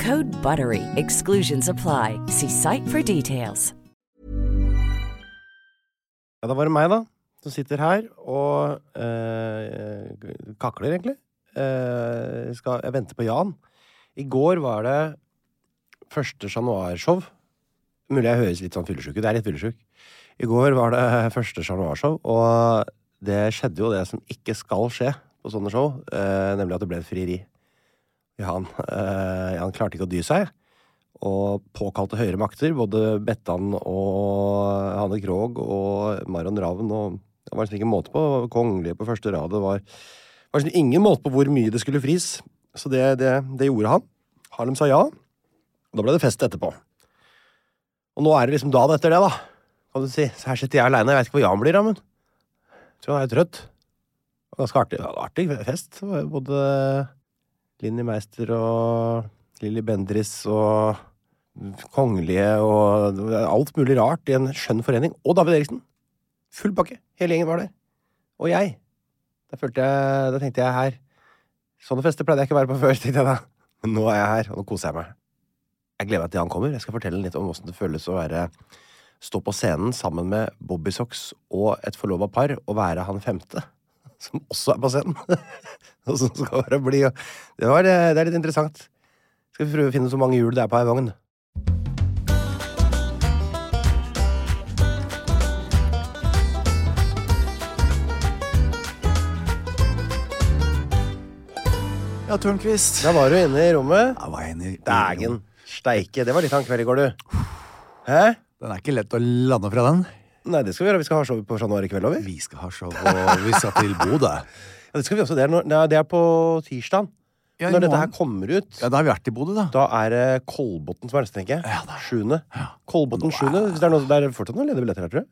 Code BUTTERY. Exclusions apply. See site for details. Ja, da var det meg, da, som sitter her og eh, kakler, egentlig. Eh, skal, jeg venter på Jan. I går var det 1. januarshow. Mulig jeg høres litt sånn fyllesyk ut. Jeg er litt fyllesyk. I går var det 1. januarshow, og det skjedde jo det som ikke skal skje på sånne show, eh, nemlig at det ble et frieri. Jan, eh, Jan klarte ikke å dy seg og påkalte høyere makter. Både Bettan og Hanne Krogh og Marion Ravn og Det var liksom ikke måte på. Kongelige på første rad. Det var, det var liksom ingen måte på hvor mye det skulle fris. Så det, det, det gjorde han. Harlem sa ja. Og da ble det fest etterpå. Og nå er det liksom dagen etter det, da. Kan du si. Så her sitter jeg aleine. Jeg vet ikke hvor Jan blir, da, men jeg tror han er trøtt. Og Ganske artig, det var artig fest. Det var jo Både Linni Meister og Lilly Bendris og kongelige og alt mulig rart i en skjønn forening. Og David Eriksen! Full pakke. Hele gjengen var der. Og jeg. Da, følte jeg, da tenkte jeg her Sånne fester pleide jeg ikke å være på før, tenkte jeg da. Men nå er jeg her, og nå koser jeg meg. Jeg gleder meg til han kommer. Jeg skal fortelle litt om åssen det føles å være stå på scenen sammen med Bobbysocks og et forlova par og være han femte, som også er på scenen. og som skal være blid. og- Det, var, eh, det er litt interessant. Skal vi prøve å finne ut hvor mange hjul det er på ei vogn. Ja, Tørnquist. Da var du inne i rommet. Jeg var enig. i- Dægen steike. Det var litt av en kveld i går, du. Hæ? Den er ikke lett å lande fra den. Nei, det skal vi gjøre. Vi skal ha show på Chat Noir i kveld over. Vi skal ha show, og vi skal til Bodø. Ja, det skal vi også. Det er, når, nei, det er på tirsdag. Ja, i Når dette her morgen. kommer ut, Ja, da har vi vært i Bodø, da. da er det Kolbotn som er neste, tenker jeg. Ja, det er- Sjuende. Kolbotn sjuende. Hvis det er noe, det er fortsatt noen ledige billetter her, tror jeg.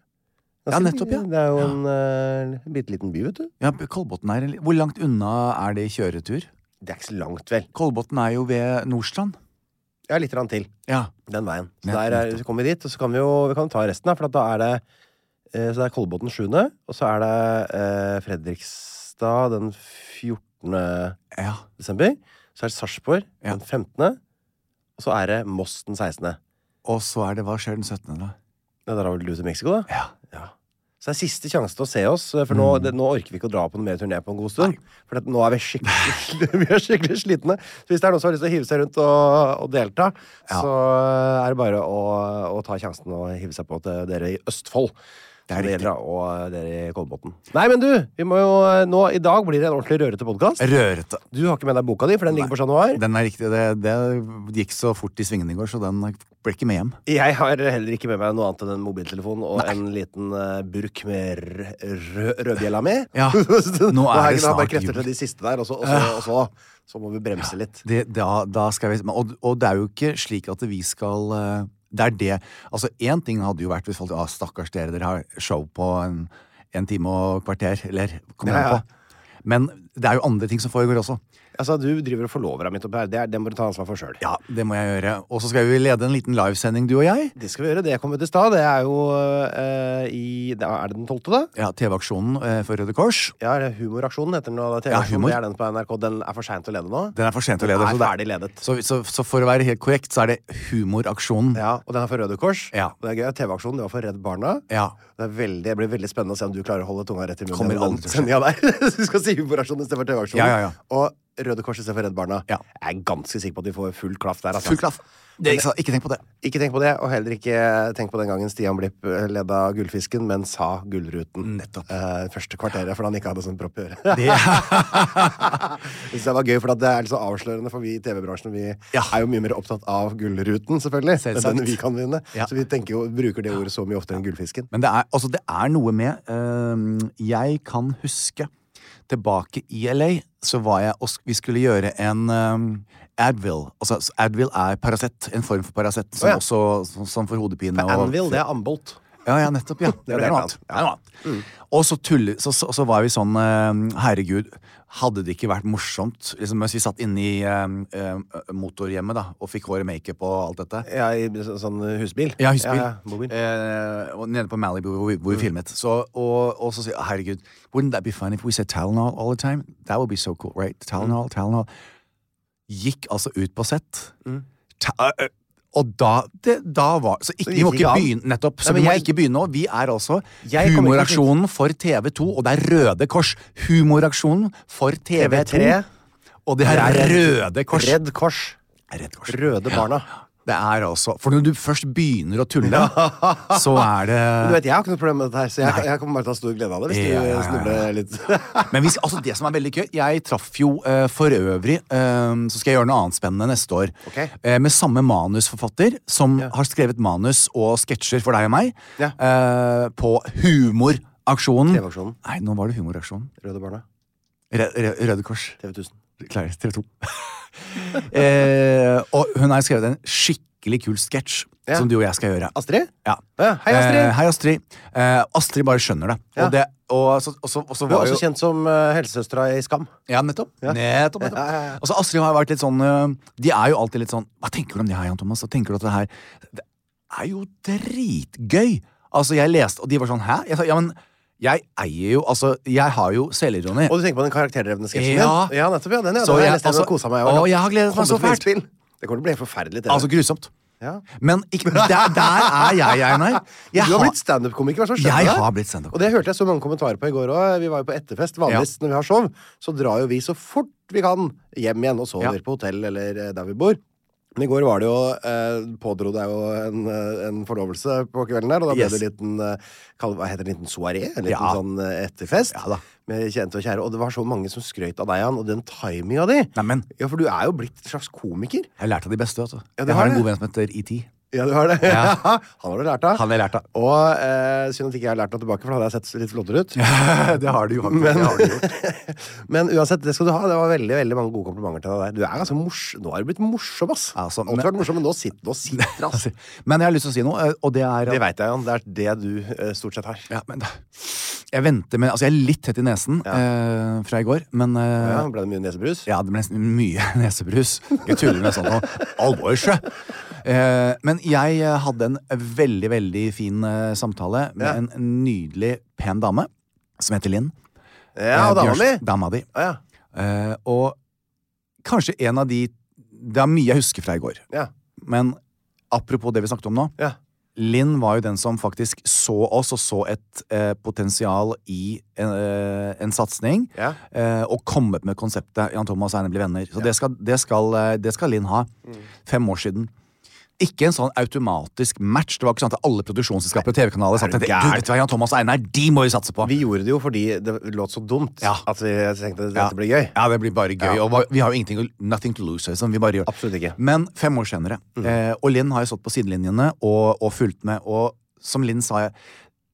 Ja, Ganske- nettopp, ja. Det er jo en eh, bitte liten by, vet du. Ja, Kolbotn er en li- Hvor langt unna er det i kjøretur? Det er ikke så langt, vel. Kolbotn er jo ved Nordstrand. Ja, litt grann til. Ja. Den veien. Så Ja, der er, så kommer vi dit, og så kan vi jo vi kan ta resten, da, for at da er det eh, Så det er Kolbotn 7., og så er det eh, Fredrikstad den 14. ja. desember. Så er det Sarpsborg Ja. den 15., og så er det Moss den 16. Og så er det Hva skjer den 17., da? Ja, der har vel du til Mexico, da? Ja. Ja. Så det er siste sjanse til å se oss, eh, for Mm. nå, det, nå orker vi ikke å dra på noe mer turné på en god stund. For at nå er vi skikkelig, vi er skikkelig slitne. Så hvis det er noen som har lyst til å hive seg rundt og, og delta, Ja. så eh, er det bare å, å ta sjansen og hive seg på til dere i Østfold. Det Som er riktig. gjelder, da, og eh, dere i Kolbotn. Nei, men du! vi må jo, eh, nå, I dag blir det en ordentlig rørete podkast. Rørete. Du har ikke med deg boka di, for den ligger på Chat Noir. Den er riktig. Det, det gikk så fort i svingene i går, så den ble ikke med hjem. Jeg har heller ikke med meg noe annet enn en mobiltelefon og en liten eh, burk med rø- rø rødbjella mi. Ja, Så har jeg ikke- nå er det da har jeg snart bare krefter jul. til de siste der, og så, og så, og så, så må vi bremse litt. Det, da, da skal vi, men- og, og det er jo ikke slik at vi skal eh, Det er det Altså, én ting hadde jo vært hvis folk ah, Stakkars dere, dere har show på en, en time og kvarter, eller Ja, kommer an ja. på. Men det er jo andre ting som foregår også. Altså, du driver og forlover deg midt oppi her. Det, er, det må du ta ansvar for sjøl. Ja, det må jeg gjøre. Og så skal vi lede en liten livesending, du og jeg. Det skal vi gjøre. Det kom ut i stad. Det er jo eh, i da Er det den tolvte, da? Ja, TV-aksjonen eh, for Røde Kors. Ja, er det Humoraksjonen heter den nå. da, Ja, TV-aksjonen. humor. Det er den på NRK. Den er for seint å lede nå. Den er for sent å lede. Den er så det- ferdig ledet. Så, så, så for å være helt korrekt, så er det Humoraksjonen. Ja, Og den er for Røde Kors. Ja. Det er gøy. TV-aksjonen det var for Redd Barna. Ja. Det, er veldig, det blir veldig spennende å se om du klarer å holde tunga rett i munnen. Kommer gjennom aldri til å den sendingen der. Så du skal si Humoraksjonen istedenfor TV-aksjonen. Ja, ja, ja. Og Røde Kors istedenfor Redd Barna. Ja. Jeg er ganske sikker på at de får full klaff der. Altså. Full klaff. Det, ikke, sant? ikke tenk på det. Ikke tenk på det, og heller ikke tenk på den gangen Stian Blipp leda Gullfisken, men sa Gullruten. Nettopp. Eh, første kvarteret, fordi han ikke hadde sånn propp i øret. Det Jeg synes det var gøy, for at det er litt så avslørende, for vi i TV-bransjen Vi Ja. er jo mye mer opptatt av Gullruten, selvfølgelig. enn Selvsagt. Den vi kan vinne. Ja. Så vi tenker jo, bruker det ordet så mye oftere enn Gullfisken. Men det er, altså, det er noe med øhm, Jeg kan huske Tilbake i LA så var jeg og sk- Vi skulle gjøre en øhm, Advil. Altså, s- Advil er Paracet. En form for Paracet som, Å, ja. også- som, som får hodepine. og- Anvil, det er Ambolt. Ja, ja, nettopp. ja. Det er er noe Mm. helt noe annet. Det er noe annet. Og så, tulle, så, så, så var vi sånn eh, Herregud, hadde det ikke vært morsomt liksom, mens vi satt inne i eh, eh, motorhjemmet da, og fikk hår og makeup og alt dette? Ja, i så- sånn husbil. Ja, husbil. Ja, Mm. mobil. Eh, og nede på Malibu, hvor vi, hvor vi filmet. Så, og, og så sier jeg, herregud, wouldn't that be fun if we said Tylenol all the time? That would be so cool, right? Mm. Tylenol, Tylenol. Gikk altså ut på sett. Mm. Ta- eh, og da, det, da var Så ikke, gikk vi må det ikke ikke an. begynne nettopp. Så Nei, men vi må jeg- ikke begynne nå. Vi er altså Jeg kommer ikke til å- Humoraksjonen for TV2, og det er Røde Kors. Humoraksjonen for E TV2. TV3. Og det her er Røde Kors. Redd Kors. Røde Kors. Røde Barna. Det er altså For når du først begynner å tulle, så er det Du vet, Jeg har ikke noe problem med dette, her så jeg, jeg kommer bare til å ha stor glede av det. Hvis Ja, ja, du ja, eh, ja. snubler litt Men hvis, altså det som er veldig gøy Jeg traff jo eh, for øvrig eh, Så skal jeg gjøre noe annet spennende neste år Ok. Eh, Med samme manusforfatter Som har skrevet manus og sketsjer for deg og meg Ja. eh, På humoraksjonen TV-aksjonen. Nei, nå var det humoraksjonen Røde Barna. Re- Re- Røde Kors TV 1000. Klarer TV 2. eh, og hun har skrevet en skikkelig kul sketsj Ja. som du og jeg skal gjøre. Astrid? Ja. Ja, hei, Astrid. Eh, hei, Astrid. Eh, Astrid bare skjønner det. Ja. Og, det og, så, og, så, og så Du er var også jo kjent som eh, helsesøstera i Skam. Ja, nettopp. nettopp, nettopp. Ja, ja, ja. Altså, Astrid har vært litt sånn eh, De er jo alltid litt sånn Hva tenker du om det her, Jan Thomas? Hva tenker du at det her Det er jo dritgøy! Altså, jeg leste, og de var sånn Hæ? Jeg sa ja, men jeg eier jo Altså, jeg har jo selvironi. Og du tenker på den karakterdrevne sketsjen Ja. din? Ja, nettopp. ja, Den, ja. Så den har jeg- jeg, lest den altså- og koset meg over. Å, jeg har gledet meg Kommet så med fælt. innspill. Det kommer til å bli helt forferdelig. TV. Altså, grusomt. ja. Men ikke, der, der er jeg, Einar. Jeg du har har- blitt standup-komiker. hva er det som skjer Jeg med deg? har blitt standup-komiker. Og det hørte jeg så mange kommentarer på i går òg. Vi var jo på etterfest. Vanligvis når vi har show, så drar jo vi så fort vi kan hjem igjen og sover Ja. på hotell eller eh, der vi bor. Men i går var det jo eh, pådro deg jo en, eh, en forlovelse på kvelden der, og da ble Yes. det en liten eh, kall, Hva heter det? En liten soaré? En liten Ja. sånn eh, etterfest? Ja da. Med kjente og kjære. Og det var så mange som skrøt av deg, han, og den timinga di. Neimen. Ja, for du er jo blitt en slags komiker. Jeg har lært av de beste. vet du. Ja, du har jeg har en det. god venn som heter ET. Ja, du har det. Ja. han har du lært av. Han har jeg lært av. Og eh, synd at ikke jeg har lært noe tilbake, for da hadde jeg sett litt flottere ut. det har du jo faktisk. det har du gjort. Men uansett, det skal du ha. Det var veldig veldig mange gode komplimenter til deg der. Du er ganske morsom. Nå er du blitt morsom, ass. Altså, Alltid men- vært morsom, men nå sitter, nå sitter ass. Men jeg har lyst til å si noe, eh, og det er Det veit jeg, Jan. Det er det du eh, stort sett har. ja, men, Jeg venter med Altså, jeg er litt tett i nesen eh, fra i går, men eh, Ja, ble det mye nesebrus? Ja, det ble nesten mye nesebrus. Jeg tuller med sånn noe. Alvorsjø! Eh, men jeg eh, hadde en veldig, veldig fin eh, samtale med Ja. en nydelig, pen dame som heter Linn. Ja, og Eh, dama mi! Bjørs- Dama di. Å, Ja, Eh, og kanskje en av de Det er mye jeg husker fra i går. ja, Men apropos det vi snakket om nå. ja. Linn var jo den som faktisk så oss og så et eh, potensial i en, eh, en satsing. Ja. Eh, og kommet med konseptet Jan Thomas og Einar blir venner. Så det, skal, det, skal, eh, det skal Linn ha. Mm. Fem år siden. Ikke en sånn automatisk match. Det var ikke sånn at alle produksjonsselskaper og TV-kanaler sa er du at du gæren? vet du hva, Jan Thomas og Einar, de må vi satse på. Vi gjorde det jo fordi det låt så dumt Ja. at vi tenkte dette Ja. blir gøy. Ja, det blir bare gøy. Og hva- vi har jo ingenting, å- nothing to lose. Liksom. Vi bare gjør. Absolutt ikke. Men fem år senere. Mm. Eh, og Linn har jo stått på sidelinjene og, og fulgt med. Mm. Og som Linn sa,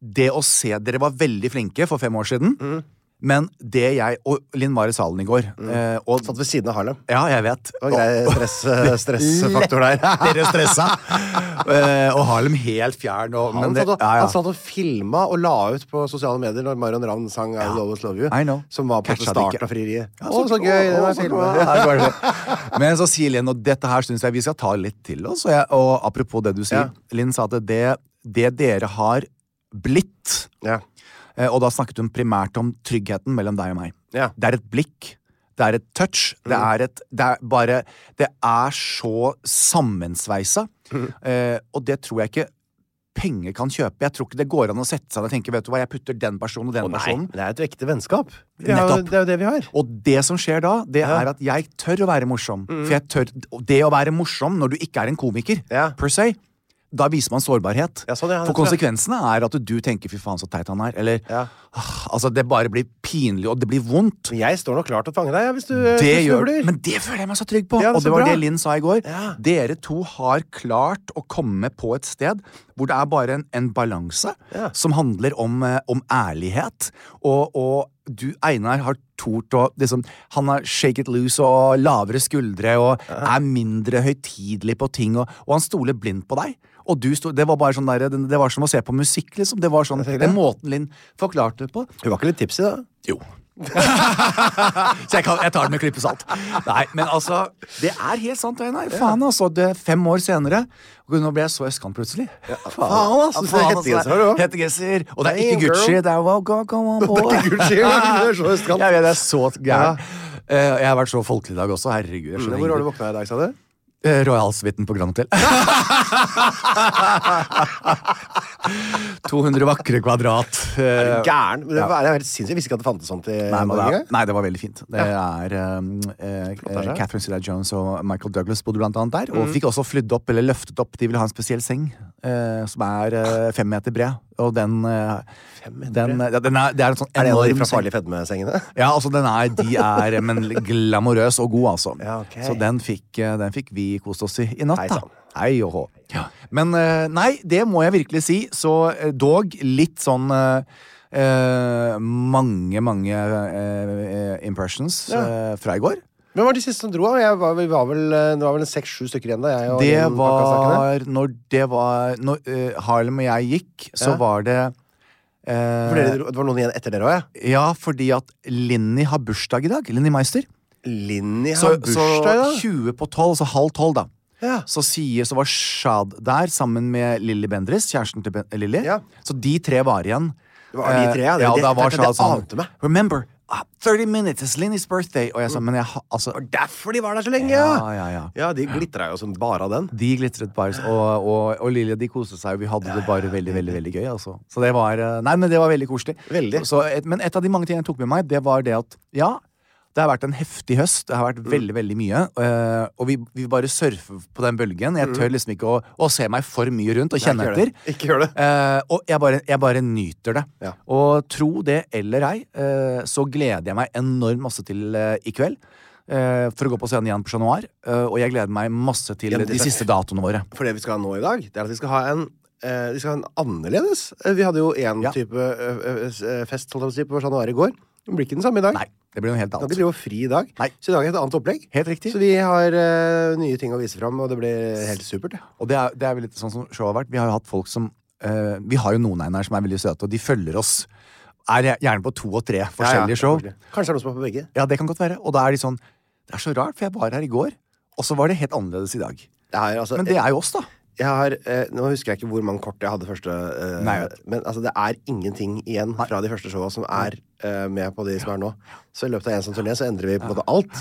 det å se Dere var veldig flinke for fem år siden. Men det jeg Og Linn var i salen i går. eh, og Satt ved siden av Harlem. ja, jeg vet. Mm. Det var grei stress- eh, stressfaktor der. Lettere stressa. Eh, og Harlem helt fjern. Og, Han, men det, satt og, ja, ja. altså, han satt og filma og la ut på sosiale medier når Marion Ravn sang I Will Always Love You. I know. Som var på en måte Catcha det ikke. starten av frieriet. Ja, Å, så gøy! å, Det å, var så filmet. bra. Her går det. Men så sier Linn, og dette her syns jeg vi skal ta litt til oss. Og, jeg, og apropos det du sier, Ja. Linn sa at det, det dere har blitt Ja. eh, Og da snakket hun primært om tryggheten mellom deg og meg. Ja. Det er et blikk. Det er et touch. Det Mm. er et Det er bare Det er så sammensveisa. Mm. Eh, og det tror jeg ikke penger kan kjøpe. Jeg tror ikke det går an å sette seg ned og tenke Vet du hva, jeg putter den personen og den Å, nei. personen. Det er et ekte vennskap. Det er, jo, Nettopp. Sånn. det er jo det vi har. Og det som skjer da, det er at jeg tør å være morsom. Mm. For jeg tør, og det å være morsom når du ikke er en komiker, Ja. per se, da viser man sårbarhet. Ja, sånn, ja, det tror For jeg. konsekvensene er at du tenker 'fy faen, så teit han er', eller Ja. «Ah, Altså, det bare blir pinlig, og det blir vondt. Men jeg står nok klar til å fange deg ja, hvis du, eh, Det hvis du gjør, snubler. men det føler jeg meg så trygg på. Ja, men og så det var bra. det Linn sa i går. Ja. Dere to har klart å komme på et sted hvor det er bare en, en balanse Ja. som handler om, eh, om ærlighet. Og, og du, Einar, har tort å liksom, Han har shake it loose og lavere skuldre og er mindre høytidelig på ting, og, og han stoler blindt på deg. Og du sto, det, var bare sånn der, det var som å se på musikk, liksom. Det var sånn, Jeg tenker den det. måten Linn forklarte det på. Hun var ikke litt tipsy, da? Jo. så jeg, kan, jeg tar det med en klype salt. Nei, men altså Det er helt sant, Einar. Faen, altså. Det er fem år senere. Og nå ble jeg så østkant plutselig. faen, altså, det er hettegenser her også. Hettegenser. Og det er Damn, ikke Gucci. girl. Det er well, go, go on, boy. ikke Gucci, det er så østkant. Jeg vet, det er så gæren. Eh, jeg har vært så folkelig i dag også. Herregud. Jeg skjønner Mm, Hvor har du ingenting. våkna i dag, sa du? Eh, Royalsuiten på Grand Hotel. 200 vakre kvadrat. Eh, Gæren! Men det var, det er helt sinnssykt. Jeg visste ikke at det fantes sånt i Nei, men det, eh, Norge. er- nei, det var veldig fint. Det er um, eh, er det. Catherine Silla Jones og Michael Douglas bodde blant annet der. Og Mm. fikk også flydd opp, eller løftet opp. De ville ha en spesiell seng eh, som er eh, fem meter bred. Og den, eh, den, eh, ja, den er, Det er en sånn Er det en av de enorm fra seng. Farlig fedme-sengene? Ja, altså den er, de er eh, men glamorøs og god, altså. Ja, ok. Så den fikk, eh, den fikk vi kost oss i i natt, Hei da. sann. Hei og hå. Ja. Men eh, nei, det må jeg virkelig si. Så eh, dog litt sånn eh, eh, mange, mange eh, eh, impressions eh, fra i går. Hvem var de siste som dro? da? Jeg var, vi var vel, eh, det var vel seks-sju stykker igjen da jeg og Det Linn pakka sakene. var når det var Når eh, Harlem og jeg gikk, så Ja. var det For eh, dere dro- Det var noen igjen etter dere òg, ja? Ja, fordi at Linni har bursdag i dag. Linni Meister. Linni Så, har bursdag, så da. 20 på 12, så halv 12 da Ja. Så sier, så var Shad der Sammen med Lilly Bendris, kjæresten til ben eh, Lilly Ja. Så de tre var igjen Det var de Eh, tre, ja. Det- ja, det- da var det- Shad det sånn ante meg. Remember, ah, 30 minutes is Linny's birthday Og jeg sa, men jeg, ha- altså Derfor de var der så lenge, Ja, ja, ja. Ja, De glitra jo som bare av den. De glitret bare, og, og, og Lilja de koste seg, og vi hadde det bare veldig, veldig veldig gøy. Altså. Så det var eh, Nei, men det var veldig koselig. Veldig. Så et, men et av de mange tingene jeg tok med meg, det var det at ja, det har vært en heftig høst. Det har vært Mm. veldig, veldig mye. eh, og vi, vi bare surfer på den bølgen. Jeg tør liksom ikke å, å se meg for mye rundt og Mm. ikke kjenne gjør det. etter. Ikke gjør det. Eh, og jeg bare, jeg bare nyter det. Ja. Og tro det eller ei, eh, så gleder jeg meg enormt masse til eh, i kveld. eh, for å gå på scenen igjen på Chat Noir. eh, og jeg gleder meg masse til Ja, men de det er- siste datoene våre. For det vi skal ha nå i dag, det er at vi skal ha en eh, vi skal ha en annerledes. Eh, Vi hadde jo én Ja. type eh, eh, fest holdt jeg på å si, på Chat Noir i går. Det blir ikke den samme i dag. Nei, det blir noe helt Vi kan ikke annet. drive og fri i dag. Nei. Så i dag er det et annet opplegg. Helt riktig. Så vi har eh, nye ting å vise fram, og det blir helt supert. ja. Og det er, det er vel litt sånn som showet har vært. Vi har jo hatt folk som eh, Vi har jo noen einar som er veldig søte, og de følger oss. Er gjer- gjerne på to og tre Ja, ja, forskjellige show. selvfølgelig. Kanskje det er noen som er på begge. Ja, det kan godt være. Og da er de sånn Det er så rart, for jeg var her i går, og så var det helt annerledes i dag. Det er, altså, Men det er jo oss, da. jeg har, eh, nå husker jeg ikke hvor mange kort jeg hadde første eh, Nei, jeg Men altså, det er ingenting igjen fra de første showa som er eh, med på de som er nå. Så i løpet av en sånn turné så endrer vi på en måte alt.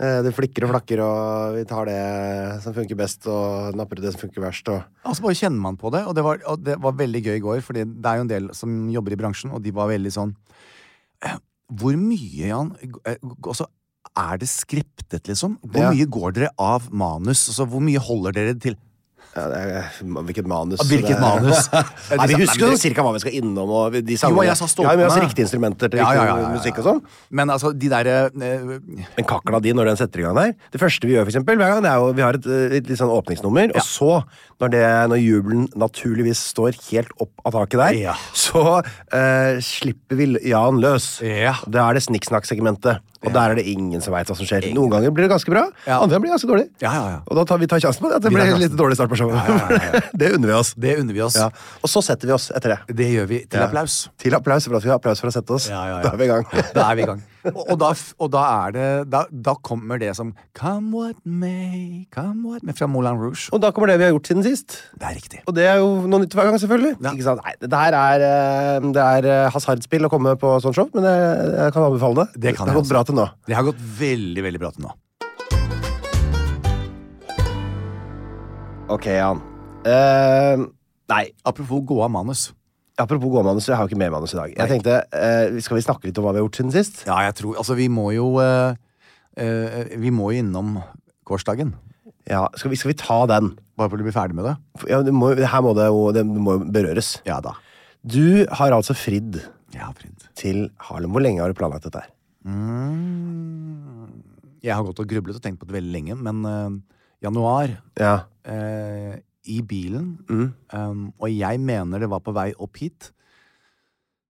Eh, det flikker og flakker, og vi tar det som funker best, og napper ut det som funker verst. Og... Altså bare kjenner man på det, og det var, og det var veldig gøy i går, Fordi det er jo en del som jobber i bransjen, og de var veldig sånn eh, Hvor mye, Jan, g- eh, g- altså, er det skriptet, liksom? Hvor Ja. mye går dere av manus? Altså, hvor mye holder dere til Ja, det er, eh, hvilket manus. Ja, det hvilket er. manus. Nei, vi husker jo sånn cirka hva vi skal innom. Og de Jo, sangene. jeg sa Ja, men vi har stolpene. så riktige instrumenter til Ja, riktig ja, ja, ja, ja. musikk og sånn. Men altså, de derre eh, Men kakla di når den setter i gang der Det første vi gjør, for eksempel, hver gang, det er jo vi har et, eh, et litt sånn åpningsnummer, og så, når, det, når jubelen naturligvis står helt opp av taket der, Ja. så eh, slipper vi Jan løs. Ja. Da er det snikksnakk-segmentet, og der er det ingen som veit hva som skjer. Noen ganger blir det ganske bra, Ja. andre ganger blir det ganske dårlig. Ja, ja, ja. Og da tar vi tar sjansen på det, at det Vi tar blir sjansen. litt dårlig start på showet. det unner vi oss. Det unner vi oss. Ja. Og så setter vi oss etter det. Det gjør vi til Ja. applaus. Til applaus for at vi har applaus for å sette oss. Ja, ja, ja. Da er vi i gang. Da er vi i gang. Og, og, da, f- og da er det da, da kommer det som Come what may, come what may Fra Moulin Rouge. Og da kommer det vi har gjort siden sist. Det er riktig. Og det er jo noe nytt hver gang, selvfølgelig. Ja. Ikke sant? Nei, det her er, eh, det er eh, hasardspill å komme på sånn show, men jeg, jeg altså. kan anbefale det. Det kan har jeg gått også. bra til nå. Det har gått veldig, veldig bra til nå. Ok, Jan. Eh, nei, Apropos gå av manus. apropos gåmanus, jeg har jo ikke mer manus i dag. Jeg tenkte, eh, Skal vi snakke litt om hva vi har gjort siden sist? Ja, jeg tror Altså, vi må jo eh, eh, Vi må jo innom gårsdagen. Ja, Skal vi, skal vi ta den? Bare for å bli ferdig med det. For- Ja, det må, det her må det jo det må jo berøres. Ja da. Du har altså fridd Ja, Frid. til Harlem. Hvor lenge har du planlagt dette? her? Jeg har gått og grublet og tenkt på det veldig lenge, men eh, januar Ja. eh, i bilen, Mm. um, og jeg mener det var på vei opp hit,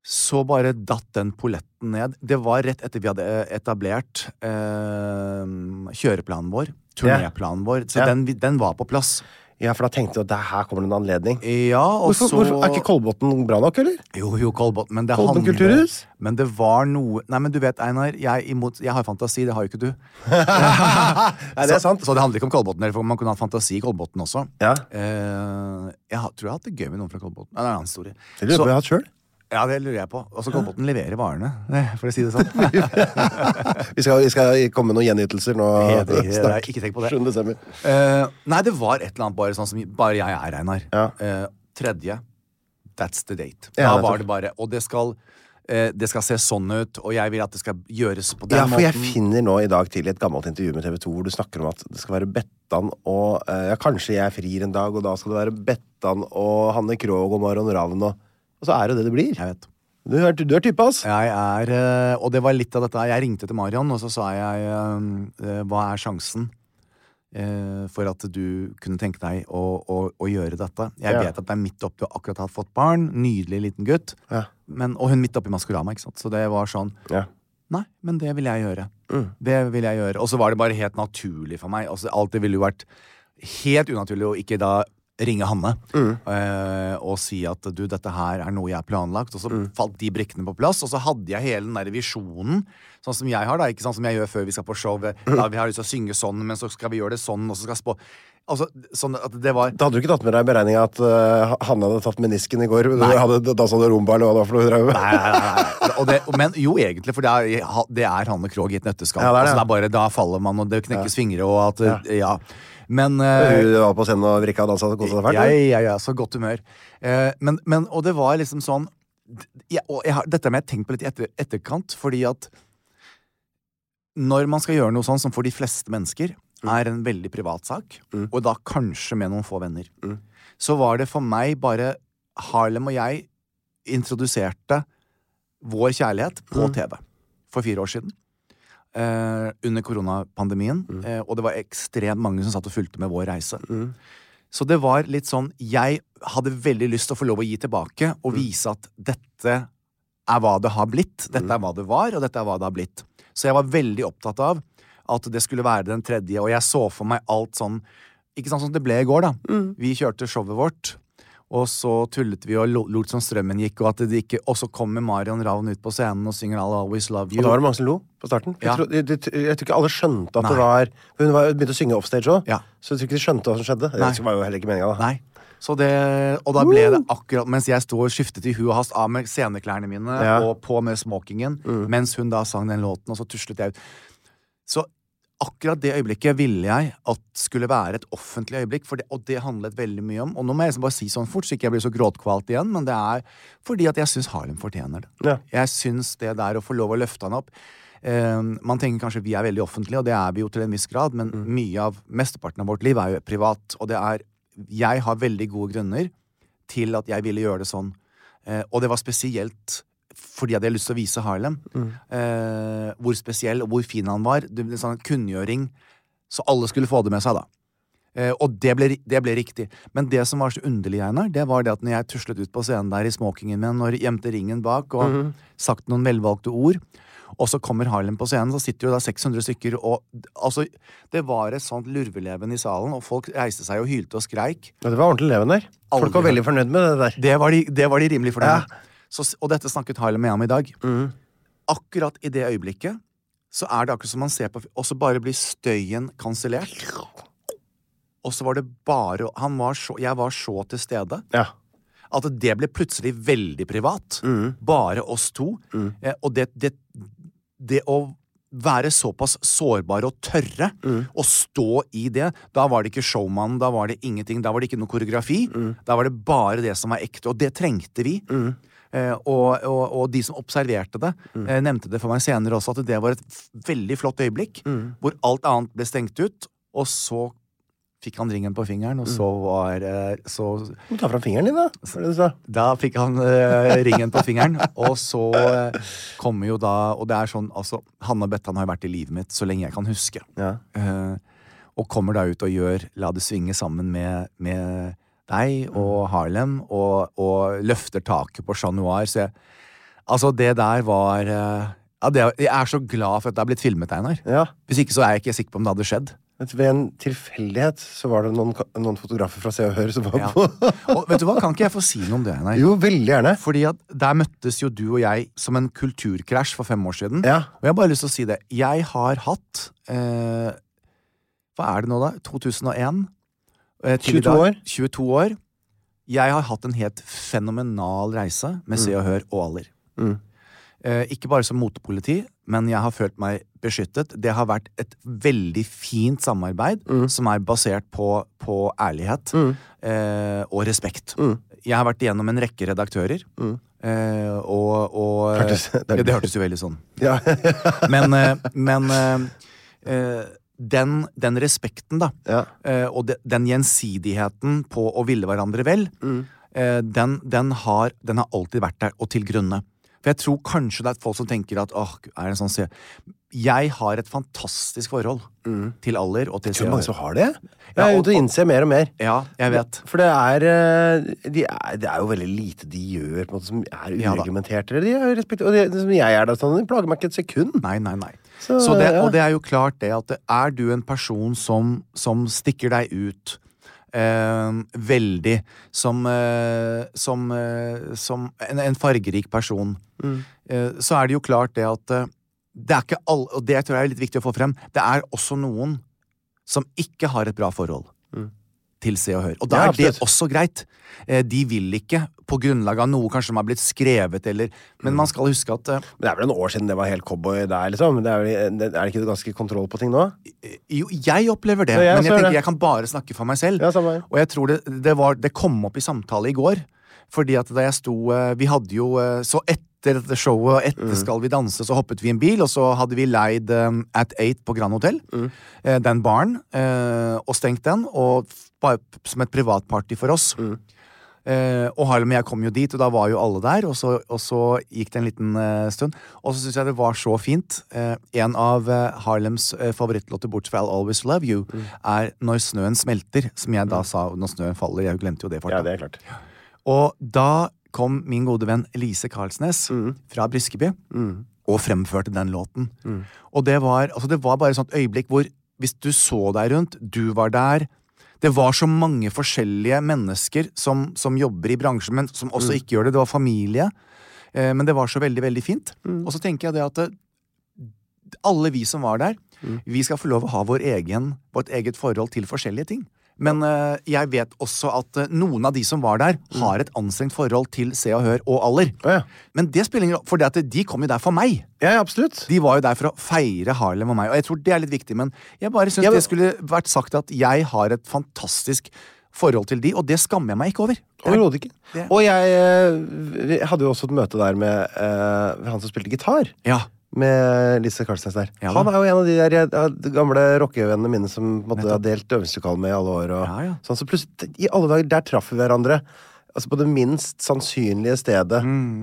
så bare datt den polletten ned. Det var rett etter vi hadde eh, etablert eh, kjøreplanen vår, turnéplanen vår, så Ja. den, vi- den var på plass. ja, for da tenkte du at det her kommer det en anledning. Ja, og Hvorfor, så hvorfor, er ikke Kolbotn bra nok, eller? Jo, jo, Kolbotn, men det Kolbotn handler- kulturhus? Men det var noe Nei, men du vet, Einar, jeg, imot, jeg har fantasi, det har jo ikke du. Nei, det er sant. Så, så det handler ikke om Kolbotn, eller for man kunne hatt fantasi i Kolbotn også. Ja. Eh, jeg har- tror jeg har hatt det gøy med noen fra Kolbotn. Nei, Det er en annen historie. Det lurer jeg på, jeg Så, har hatt selv. ja, det lurer jeg på. Altså, Kolbotn leverer varene, eh, for å si det sånn. Vi skal, vi skal komme med noen gjenytelser nå. Helt riktig, det er- snart. ikke tenk på det. 7. desember. Eh, nei, det var et eller annet bare sånn som bare jeg er, Einar. Ja. Eh, tredje. That's the date. Ja, da var nettopp. det bare Og det skal, eh, det skal se sånn ut, og jeg vil at det skal gjøres på den Ja, for jeg måten. finner nå i dag tidlig et gammelt intervju med TV 2 hvor du snakker om at det skal være Bettan og eh, Ja, kanskje jeg frir en dag, og da skal det være Bettan og Hanne Krogh og Maron Ravn og Og så er det jo det det blir. Jeg vet. Du er, du er type, ass. Jeg er, eh, og det var litt av dette her. Jeg ringte til Marion, og så sa jeg eh, eh, hva er sjansen eh, for at du kunne tenke deg å, å, å gjøre dette? Jeg Ja. vet at det er midt oppi, du har akkurat har fått barn, nydelig liten gutt, Ja. men, og hun midt oppi Maskorama, ikke sant? Så det var sånn, Ja. nei, men det vil jeg gjøre. Det vil jeg gjøre. Og så var det bare helt naturlig for meg. Altså, alt det ville jo vært helt unaturlig å ikke da ringe Hanne eh, og si at du, dette her er noe jeg har planlagt. Og så falt de brikkene på plass, og så hadde jeg hele den der visjonen, sånn som jeg har, da, ikke sant, som jeg gjør før vi skal på show. Ja, vi har lyst til å synge sånn, men så skal vi gjøre det sånn, og så skal spå Altså, sånn at det var Da hadde du ikke tatt med deg i beregninga at eh, Hanne hadde tatt menisken i går? Du hadde dansa rumba eller hva det var for noe? hun drev med. Nei, nei, nei, nei. Og det, men jo, egentlig, for det er, ha- det er Hanne Krogh i et nøtteskall. Ja, det er det. Altså, det er bare, da faller man, og det knekkes fingre, og at eh, Ja. Men eh, Hun var på scenen og vrikka og dansa og kosa seg fælt? Ja, eller? ja, ja, så godt humør. Eh, men, men, og det var liksom sånn ja, og jeg har, Dette har jeg tenkt på litt i etter, etterkant, fordi at når man skal gjøre noe sånn som for de fleste mennesker er en veldig privat sak, og da kanskje med noen få venner, så var det for meg bare Harlem og jeg introduserte vår kjærlighet på TV for fire år siden. Eh, under koronapandemien, Mm. eh, og det var ekstremt mange som satt og fulgte med vår reise. Så det var litt sånn Jeg hadde veldig lyst til å få lov å gi tilbake Mm. og vise at dette er hva det har blitt. Dette Mm. er hva det var, og dette er hva det har blitt. Så jeg var veldig opptatt av at det skulle være den tredje, og jeg så for meg alt sånn Ikke sant som det ble i går, da. Mm. Vi kjørte showet vårt. Og så tullet vi og lo- lot som strømmen gikk, og, at det ikke, og så kommer Marion Ravn ut på scenen og synger I'll Always Love You. Og da var det mange som lo på starten. Jeg, Ja. tror, jeg, jeg, jeg tror ikke alle skjønte at det Nei. var for Hun var, begynte å synge offstage òg, Ja. så jeg tror ikke de skjønte hva som skjedde. Nei. Det var jo heller ikke meningen, da. Nei. Så det, og da ble det akkurat mens jeg sto og skiftet i huet og hast av med sceneklærne mine Ja. Mm. og på med smokingen, mens hun da sang den låten, og så tuslet jeg ut. Så akkurat det øyeblikket ville jeg at skulle være et offentlig øyeblikk, for det, og det handlet veldig mye om Og nå må jeg liksom bare si sånn fort, så ikke jeg blir så gråtkvalt igjen, men det er fordi at jeg syns Harlem fortjener det. Ja. Jeg syns det der å få lov å løfte han opp eh, Man tenker kanskje Mm. vi er veldig offentlige, og det er vi jo til en viss grad, men mye av mesteparten av vårt liv er jo privat, og det er jeg har veldig gode grunner til at jeg ville gjøre det sånn. Eh, og det var spesielt fordi jeg hadde lyst til å vise Harlem eh, hvor spesiell og hvor fin han var. Det ble en sånn kunngjøring, så alle skulle få det med seg, da. Eh, og det ble, ri- det ble riktig. Men det som var så underlig, Einar, det var det at når jeg tuslet ut på scenen der i smokingen min og gjemte ringen bak og sagt noen velvalgte ord, og så kommer Harlem på scenen, så sitter jo da 600 stykker og Altså, det var et sånt lurveleven i salen, og folk reiste seg og hylte og skreik. Ja, det var ordentlig leven der. Folk var Aldri. veldig fornøyd med det der. Det var de, det var de rimelig fornøyd med. Så s- Og dette snakket Harlem med om i dag. Akkurat i det øyeblikket så er det akkurat som man ser på Og så bare blir støyen kansellert. Og så var det bare han var så, Jeg var så til stede Ja. at det ble plutselig veldig privat. Bare oss to. Eh, og det, det, det å være såpass sårbare og tørre, og stå i det Da var det ikke showman, da var det ingenting, da var det ikke noe koreografi. Da var det bare det som var ekte, og det trengte vi. Eh, og, og, og de som observerte det, eh, nevnte det for meg senere også, at det var et f- veldig flott øyeblikk, hvor alt annet ble stengt ut, og så fikk han ringen på fingeren, og så var eh, så Du må ta fram fingeren din, da. Var det du sa? da fikk han eh, ringen på fingeren, og så eh, kommer jo da Og det er sånn, altså Hanne Bettan har jo vært i livet mitt så lenge jeg kan huske. Ja. Eh, og kommer da ut og gjør La det svinge sammen med, med deg Mm. og Harlem, og, og løfter taket på Chat Noir. Så jeg, altså, det der var eh, ja, det, Jeg er så glad for at det er blitt filmet, Einar. ja. Hvis ikke så er jeg ikke sikker på om det hadde skjedd. Vet du, Ved en tilfeldighet så var det noen, ka- noen fotografer fra Se og Hør som var Ja. på. Og vet du hva, kan ikke jeg få si noe om det, Einar? Jo, veldig gjerne. Fordi at der møttes jo du og jeg som en kulturkrasj for fem år siden. Ja. Og jeg har bare lyst til å si det. Jeg har hatt eh, Hva er det nå, da? 2001? eh, til i 22 år. 22 år. Jeg har hatt en helt fenomenal reise med Se og Hør og Aller. Mm. Eh, ikke bare som motepoliti, men jeg har følt meg beskyttet. Det har vært et veldig fint samarbeid Mm. som er basert på, på ærlighet eh, og respekt. Mm. Jeg har vært igjennom en rekke redaktører. Eh, og, og Hørtes- det er- ja, det hørtes jo veldig sånn Ja. men, eh, men eh, eh, den, den respekten, da, Ja. eh, og de, den gjensidigheten på å ville hverandre vel, Mm. eh, den, den, har, den har alltid vært der, og til grunne. For jeg tror kanskje det er folk som tenker at åh, er det en sånn se Jeg har et fantastisk forhold til alder og til Mm. Det er mange som CR. har det. Ja, Jeg er og- ute og innser mer og mer. Ja, jeg vet. For det er, eh, de er Det er jo veldig lite de gjør på en måte, som er Ja da. ureglementert. eller de er respekt- og det, det som jeg er der, sånn, det plager meg ikke et sekund. Nei, nei, nei. Så, Så, det, ja. Og det er jo klart det at er du en person som, som stikker deg ut eh, veldig, som, eh, som, eh, som en, en fargerik person, Mm. eh, så er det jo klart det at eh, det er ikke alle, og det tror jeg er litt viktig å få frem, det er også noen som ikke har et bra forhold til Se og Hør. Og da Mm. Ja, er det absolutt. også greit. Eh, De vil ikke på grunnlag av noe kanskje som har blitt skrevet eller Mm. Men man skal huske at eh, Men det er vel en år siden det var helt cowboy der, liksom. Det er, vel, det, er det ikke ganske kontroll på ting nå? Jo, jeg opplever det, Ja, jeg men også jeg gjør tenker det. jeg kan bare snakke for meg selv. Ja, samme her. Og jeg tror det, det, var, det kom opp i samtale i går. Fordi at da jeg sto eh, Vi hadde jo eh, Så etter dette showet og Mm. etter Skal vi danse, så hoppet vi i en bil, og så hadde vi leid eh, At Eight på Grand Hotel. Mm. eh, Den baren. eh, Og stengt den. Og f- bare p- som et privatparty for oss. Mm. Eh, og Harlem og jeg kom jo dit, og da var jo alle der. Og så, og så gikk det en liten eh, stund. Og så syns jeg det var så fint. Eh, en av eh, Harlems eh, favorittlåter, bort fra I'll Always Love You, Mm. er Når snøen smelter, som jeg da sa når snøen faller. Jeg glemte jo det. Ja, Fortsatt. det er klart. Og da kom min gode venn Lise Karlsnes Mm. fra Briskeby og fremførte den låten. Mm. Og det var, altså det var bare et sånt øyeblikk hvor hvis du så deg rundt, du var der Det var så mange forskjellige mennesker som, som jobber i bransjen, men som Mm. også ikke gjør det. Det var familie. Eh, men det var så veldig, veldig fint. Mm. Og så tenker jeg det at eh, alle vi som var der, Mm. vi skal få lov å ha vår egen, vårt eget forhold til forskjellige ting. Men eh, jeg vet også at eh, noen av de som var der, har et anstrengt forhold til Se og Hør og Aller. Mm. Å, ja. Men det spiller ingen rolle, for det at de kom jo der for meg. Ja, ja, absolutt. De var jo der for å feire Harlem og meg, og jeg tror det er litt viktig, men jeg bare syns Ja, men- det skulle vært sagt at jeg har et fantastisk forhold til de, og det skammer jeg meg ikke over. Det er- Overhodet ikke. Det- Og jeg eh, vi hadde jo også et møte der med eh, han som spilte gitar. Ja. med Lise Karlsnes der. Ja da. han er jo en av de der jeg, de gamle rockevennene mine som på en måte, Nettopp. har delt øvingslokal med i alle år. Og, Ja, ja. Sånn, så plutselig, i alle dager, der traff vi hverandre. Altså På det minst sannsynlige stedet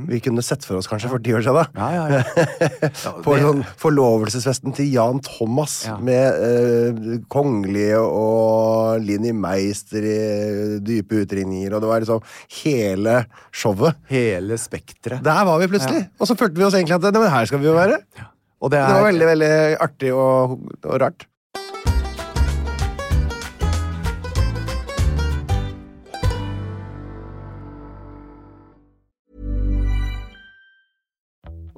vi kunne sett for oss kanskje for ti år siden. Da. Mm. Ja, ja, ja. På sånn forlovelsesfesten til Jan Thomas Ja. med eh, kongelige og Linni Meister i eh, dype utringninger, og det var liksom hele showet. Hele spekteret. Der var vi plutselig. Og så følte vi oss egentlig at nei, men her skal vi jo være. Og det Det var er veldig veldig artig og, og rart.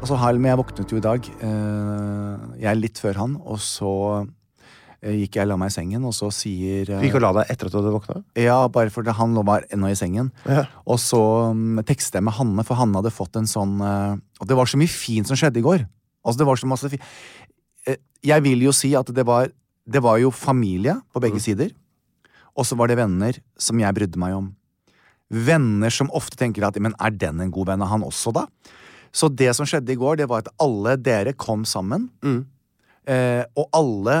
Altså, Halm, jeg våknet jo i dag. eh, Jeg er litt før han, og så eh, gikk jeg og la meg i sengen, og så sier eh, Du gikk og la deg etter at du hadde våkna? Ja, bare fordi han lå bare ennå i sengen. Ja. Og så um, tekstet jeg med Hanne, for Hanne hadde fått en sånn eh, Og det var så mye fint som skjedde i går. Altså, det var så masse fint. Jeg vil jo si at det var Det var jo familie på begge sider. Og så var det venner som jeg brydde meg om. Venner som ofte tenker at Men er den en god venn av han også, da? Så det som skjedde i går, det var at alle dere kom sammen. Mm. Eh, og alle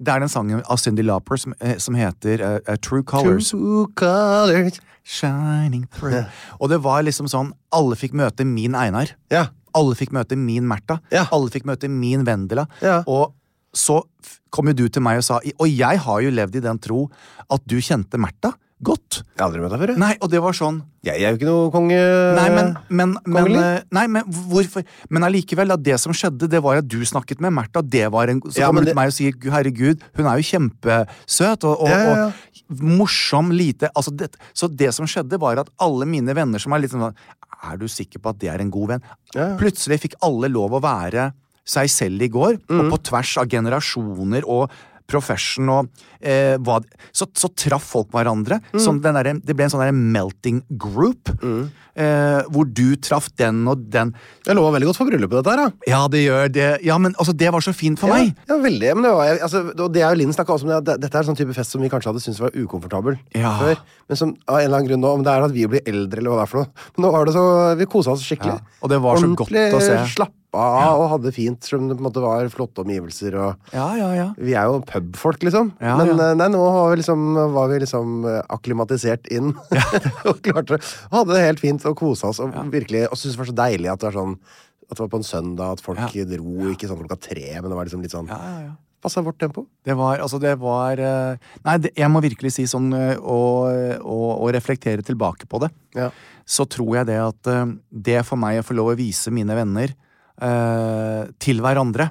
Det er den sangen av Cyndi Lauper som, eh, som heter eh, eh, True Colors. True colors. Shining through. Og det var liksom sånn Alle fikk møte min Einar. Ja. Alle fikk møte min Märtha. Ja. Alle fikk møte min Vendela. Ja. Og så f- kom jo du til meg og sa Og jeg har jo levd i den tro at du kjente Märtha godt. Jeg har aldri møtt deg før. jeg. Nei, og det var sånn Jeg er jo ikke noe konge... Nei, men, men, men, Kongelig? eh, nei, men hvorfor Men allikevel, da, det som skjedde, det var at du snakket med Märtha. Det var en, så Ja, kommer men du det- til meg og sier 'Gud, 'herregud, hun er jo kjempesøt' og, og, Ja, ja, ja. og morsom, lite altså det, Så det som skjedde, var at alle mine venner som er litt sånn Er du sikker på at det er en god venn? Plutselig fikk alle lov å være seg selv i går, Mm. og på tvers av generasjoner og profession og eh, hva, så, så traff folk hverandre. Mm. Sånn den derre- det ble en sånn derre melting group, eh, hvor du traff den og den. Jeg lova veldig godt for bryllupet, dette her. da. Ja, det gjør det. Ja, men altså, det var så fint for meg. Ja, ja, veldig. Men det, var, jeg- altså, og det er jo Linn snakka også om, det, at det- dette er en sånn type fest som vi kanskje hadde syntes var ukomfortabel Ja. før. Men som av en eller annen grunn nå, om det er at vi blir eldre eller hva det er for noe. Men nå var det så, vi kosa oss skikkelig. Ja, og det var så godt å se. Ordentlig slappa av og hadde fint, selv om det på en måte var flotte omgivelser og Ja, ja, ja. Vi er jo pubfolk, liksom. Ja, Men ja. eh, nei, nå var vi liksom, var vi liksom eh, akklimatisert inn. og klarte Hadde det helt fint og kosa oss. Og virkelig, og syntes det var så deilig at det var sånn At det var på en søndag, at folk Ja. dro ikke sånn klokka tre, men det var liksom litt sånn ja, ja, ja. Passa vårt tempo. Det var, altså det var eh, Nei, det, jeg må virkelig si sånn eh, og, og, og reflektere tilbake på det. Ja. Så tror jeg det at eh, det for meg å få lov å vise mine venner eh, til hverandre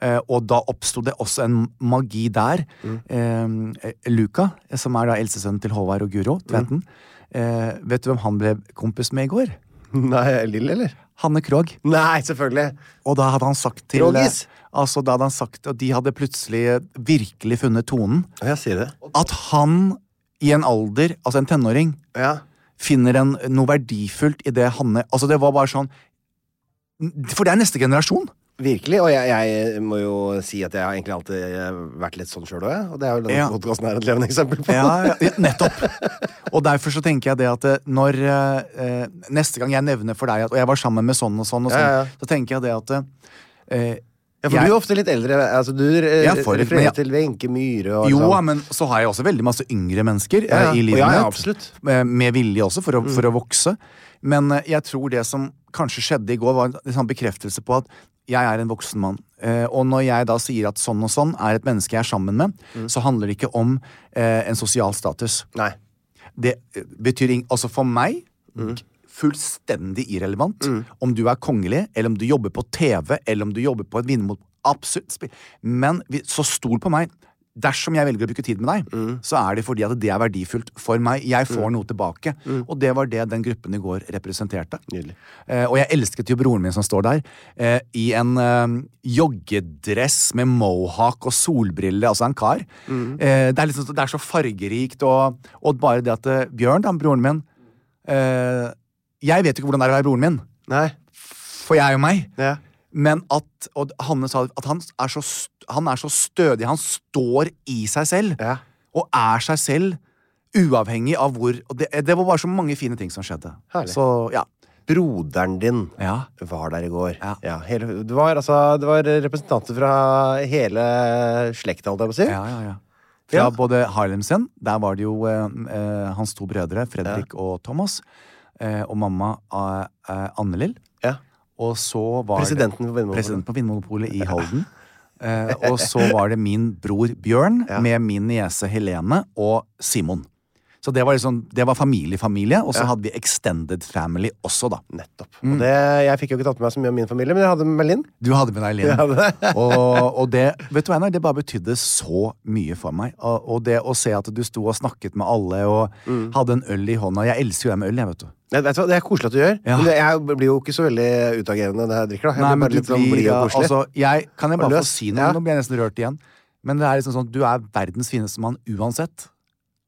eh, Og da oppsto det også en magi der. Eh, Luca, som er da eldstesønnen til Håvard og Guro Tveten eh, Vet du hvem han ble kompis med i går? Nei, Lill, eller? Hanne Krogh. Nei, selvfølgelig. Og da hadde han sagt til Krogis? Altså, da hadde han sagt, og de hadde plutselig virkelig funnet tonen. Ja, Jeg sier det. At han i en alder, altså en tenåring, Ja. finner en, noe verdifullt i det Hanne Altså, det var bare sånn For det er neste generasjon. Virkelig. Og jeg, jeg må jo si at jeg har egentlig alltid eh, vært litt sånn sjøl òg, og det er jo denne Ja. podcasten her et levende eksempel på. Ja, ja, nettopp. Og derfor så tenker jeg det at eh, når eh, eh, Neste gang jeg nevner for deg at Og jeg var sammen med sånn og sånn, og sånn Ja, ja, ja. så tenker jeg det at eh, Ja, for jeg- du er ofte litt eldre. Altså, du eh, Ja, for- men refererer jeg- til Wenche Myhre og Jo, sånn. ja, men så har jeg også veldig masse yngre mennesker eh, Ja, ja. i livet Ja, ja, mitt. absolutt. Mm. Eh, Med vilje også, for å, for å vokse. Men eh, jeg tror det som kanskje skjedde i går, var en en sånn bekreftelse på at jeg er en voksen mann. Eh, og når jeg da sier at sånn og sånn er et menneske jeg er sammen med, Mm. så handler det ikke om eh, en sosial status. Nei. Det eh, betyr ing- Altså for meg fullstendig irrelevant om du er kongelig, eller om du jobber på TV, eller om du jobber på et vinmot. Absolutt. spi- Men vi- så stol på meg. Dersom jeg velger å bruke tid med deg, så er det fordi at det er verdifullt for meg. Jeg får noe tilbake. Og det var det den gruppen i går representerte. Mm. Nydelig. Eh, og jeg elsket jo broren min som står der, eh, i en eh, joggedress med mohawk og solbriller, altså en kar. Mm. Eh, det, er liksom, så- det er så fargerikt, og, og bare det at eh, Bjørn, da, broren min eh, Jeg vet jo ikke hvordan det er å være broren min, Nei. for jeg er jo meg. Ja. Men at og Hanne sa at han er, så, st- han er så stødig. Han står i seg selv. Ja. Og er seg selv, uavhengig av hvor og det, det var bare så mange fine ting som skjedde. Herlig. Så ja. Broderen din Ja. var der i går. Ja. hele, det, var, altså, det var representanter fra hele slekta, holdt jeg på å si. Ja, ja, ja. Fra Ja. både Harlemsen, der var det jo eh, eh, hans to brødre, Fredrik og Thomas, eh, og mamma eh, eh, Annelill. Ja. Og så var Presidenten det, for Vinmonopolet. presidenten på Vinmonopolet i Halden. Eh, og så var det min bror Bjørn Ja. med min niese Helene og Simon. Så det var liksom, det var familie-familie, og så hadde vi extended family også, da. Nettopp. Mm. Og det, jeg fikk jo ikke tatt med meg så mye av min familie, men jeg hadde med meg Linn. Du hadde med deg Linn. Jeg hadde det. og, og det vet du, Einar, det bare betydde så mye for meg. Og, og det å se at du sto og snakket med alle og Mm. hadde en øl i hånda Jeg elsker jo det med øl, jeg, vet du. Nei, vet du hva, Det er koselig at du gjør. Ja. Men jeg blir jo ikke så veldig utagerende når jeg drikker. da. Jeg blir bare litt sånn blid og koselig. altså, jeg, Kan jeg Og bare få løs. si noe? Ja. Nå blir jeg nesten rørt igjen. Men det er liksom sånn, du er verdens fineste mann uansett.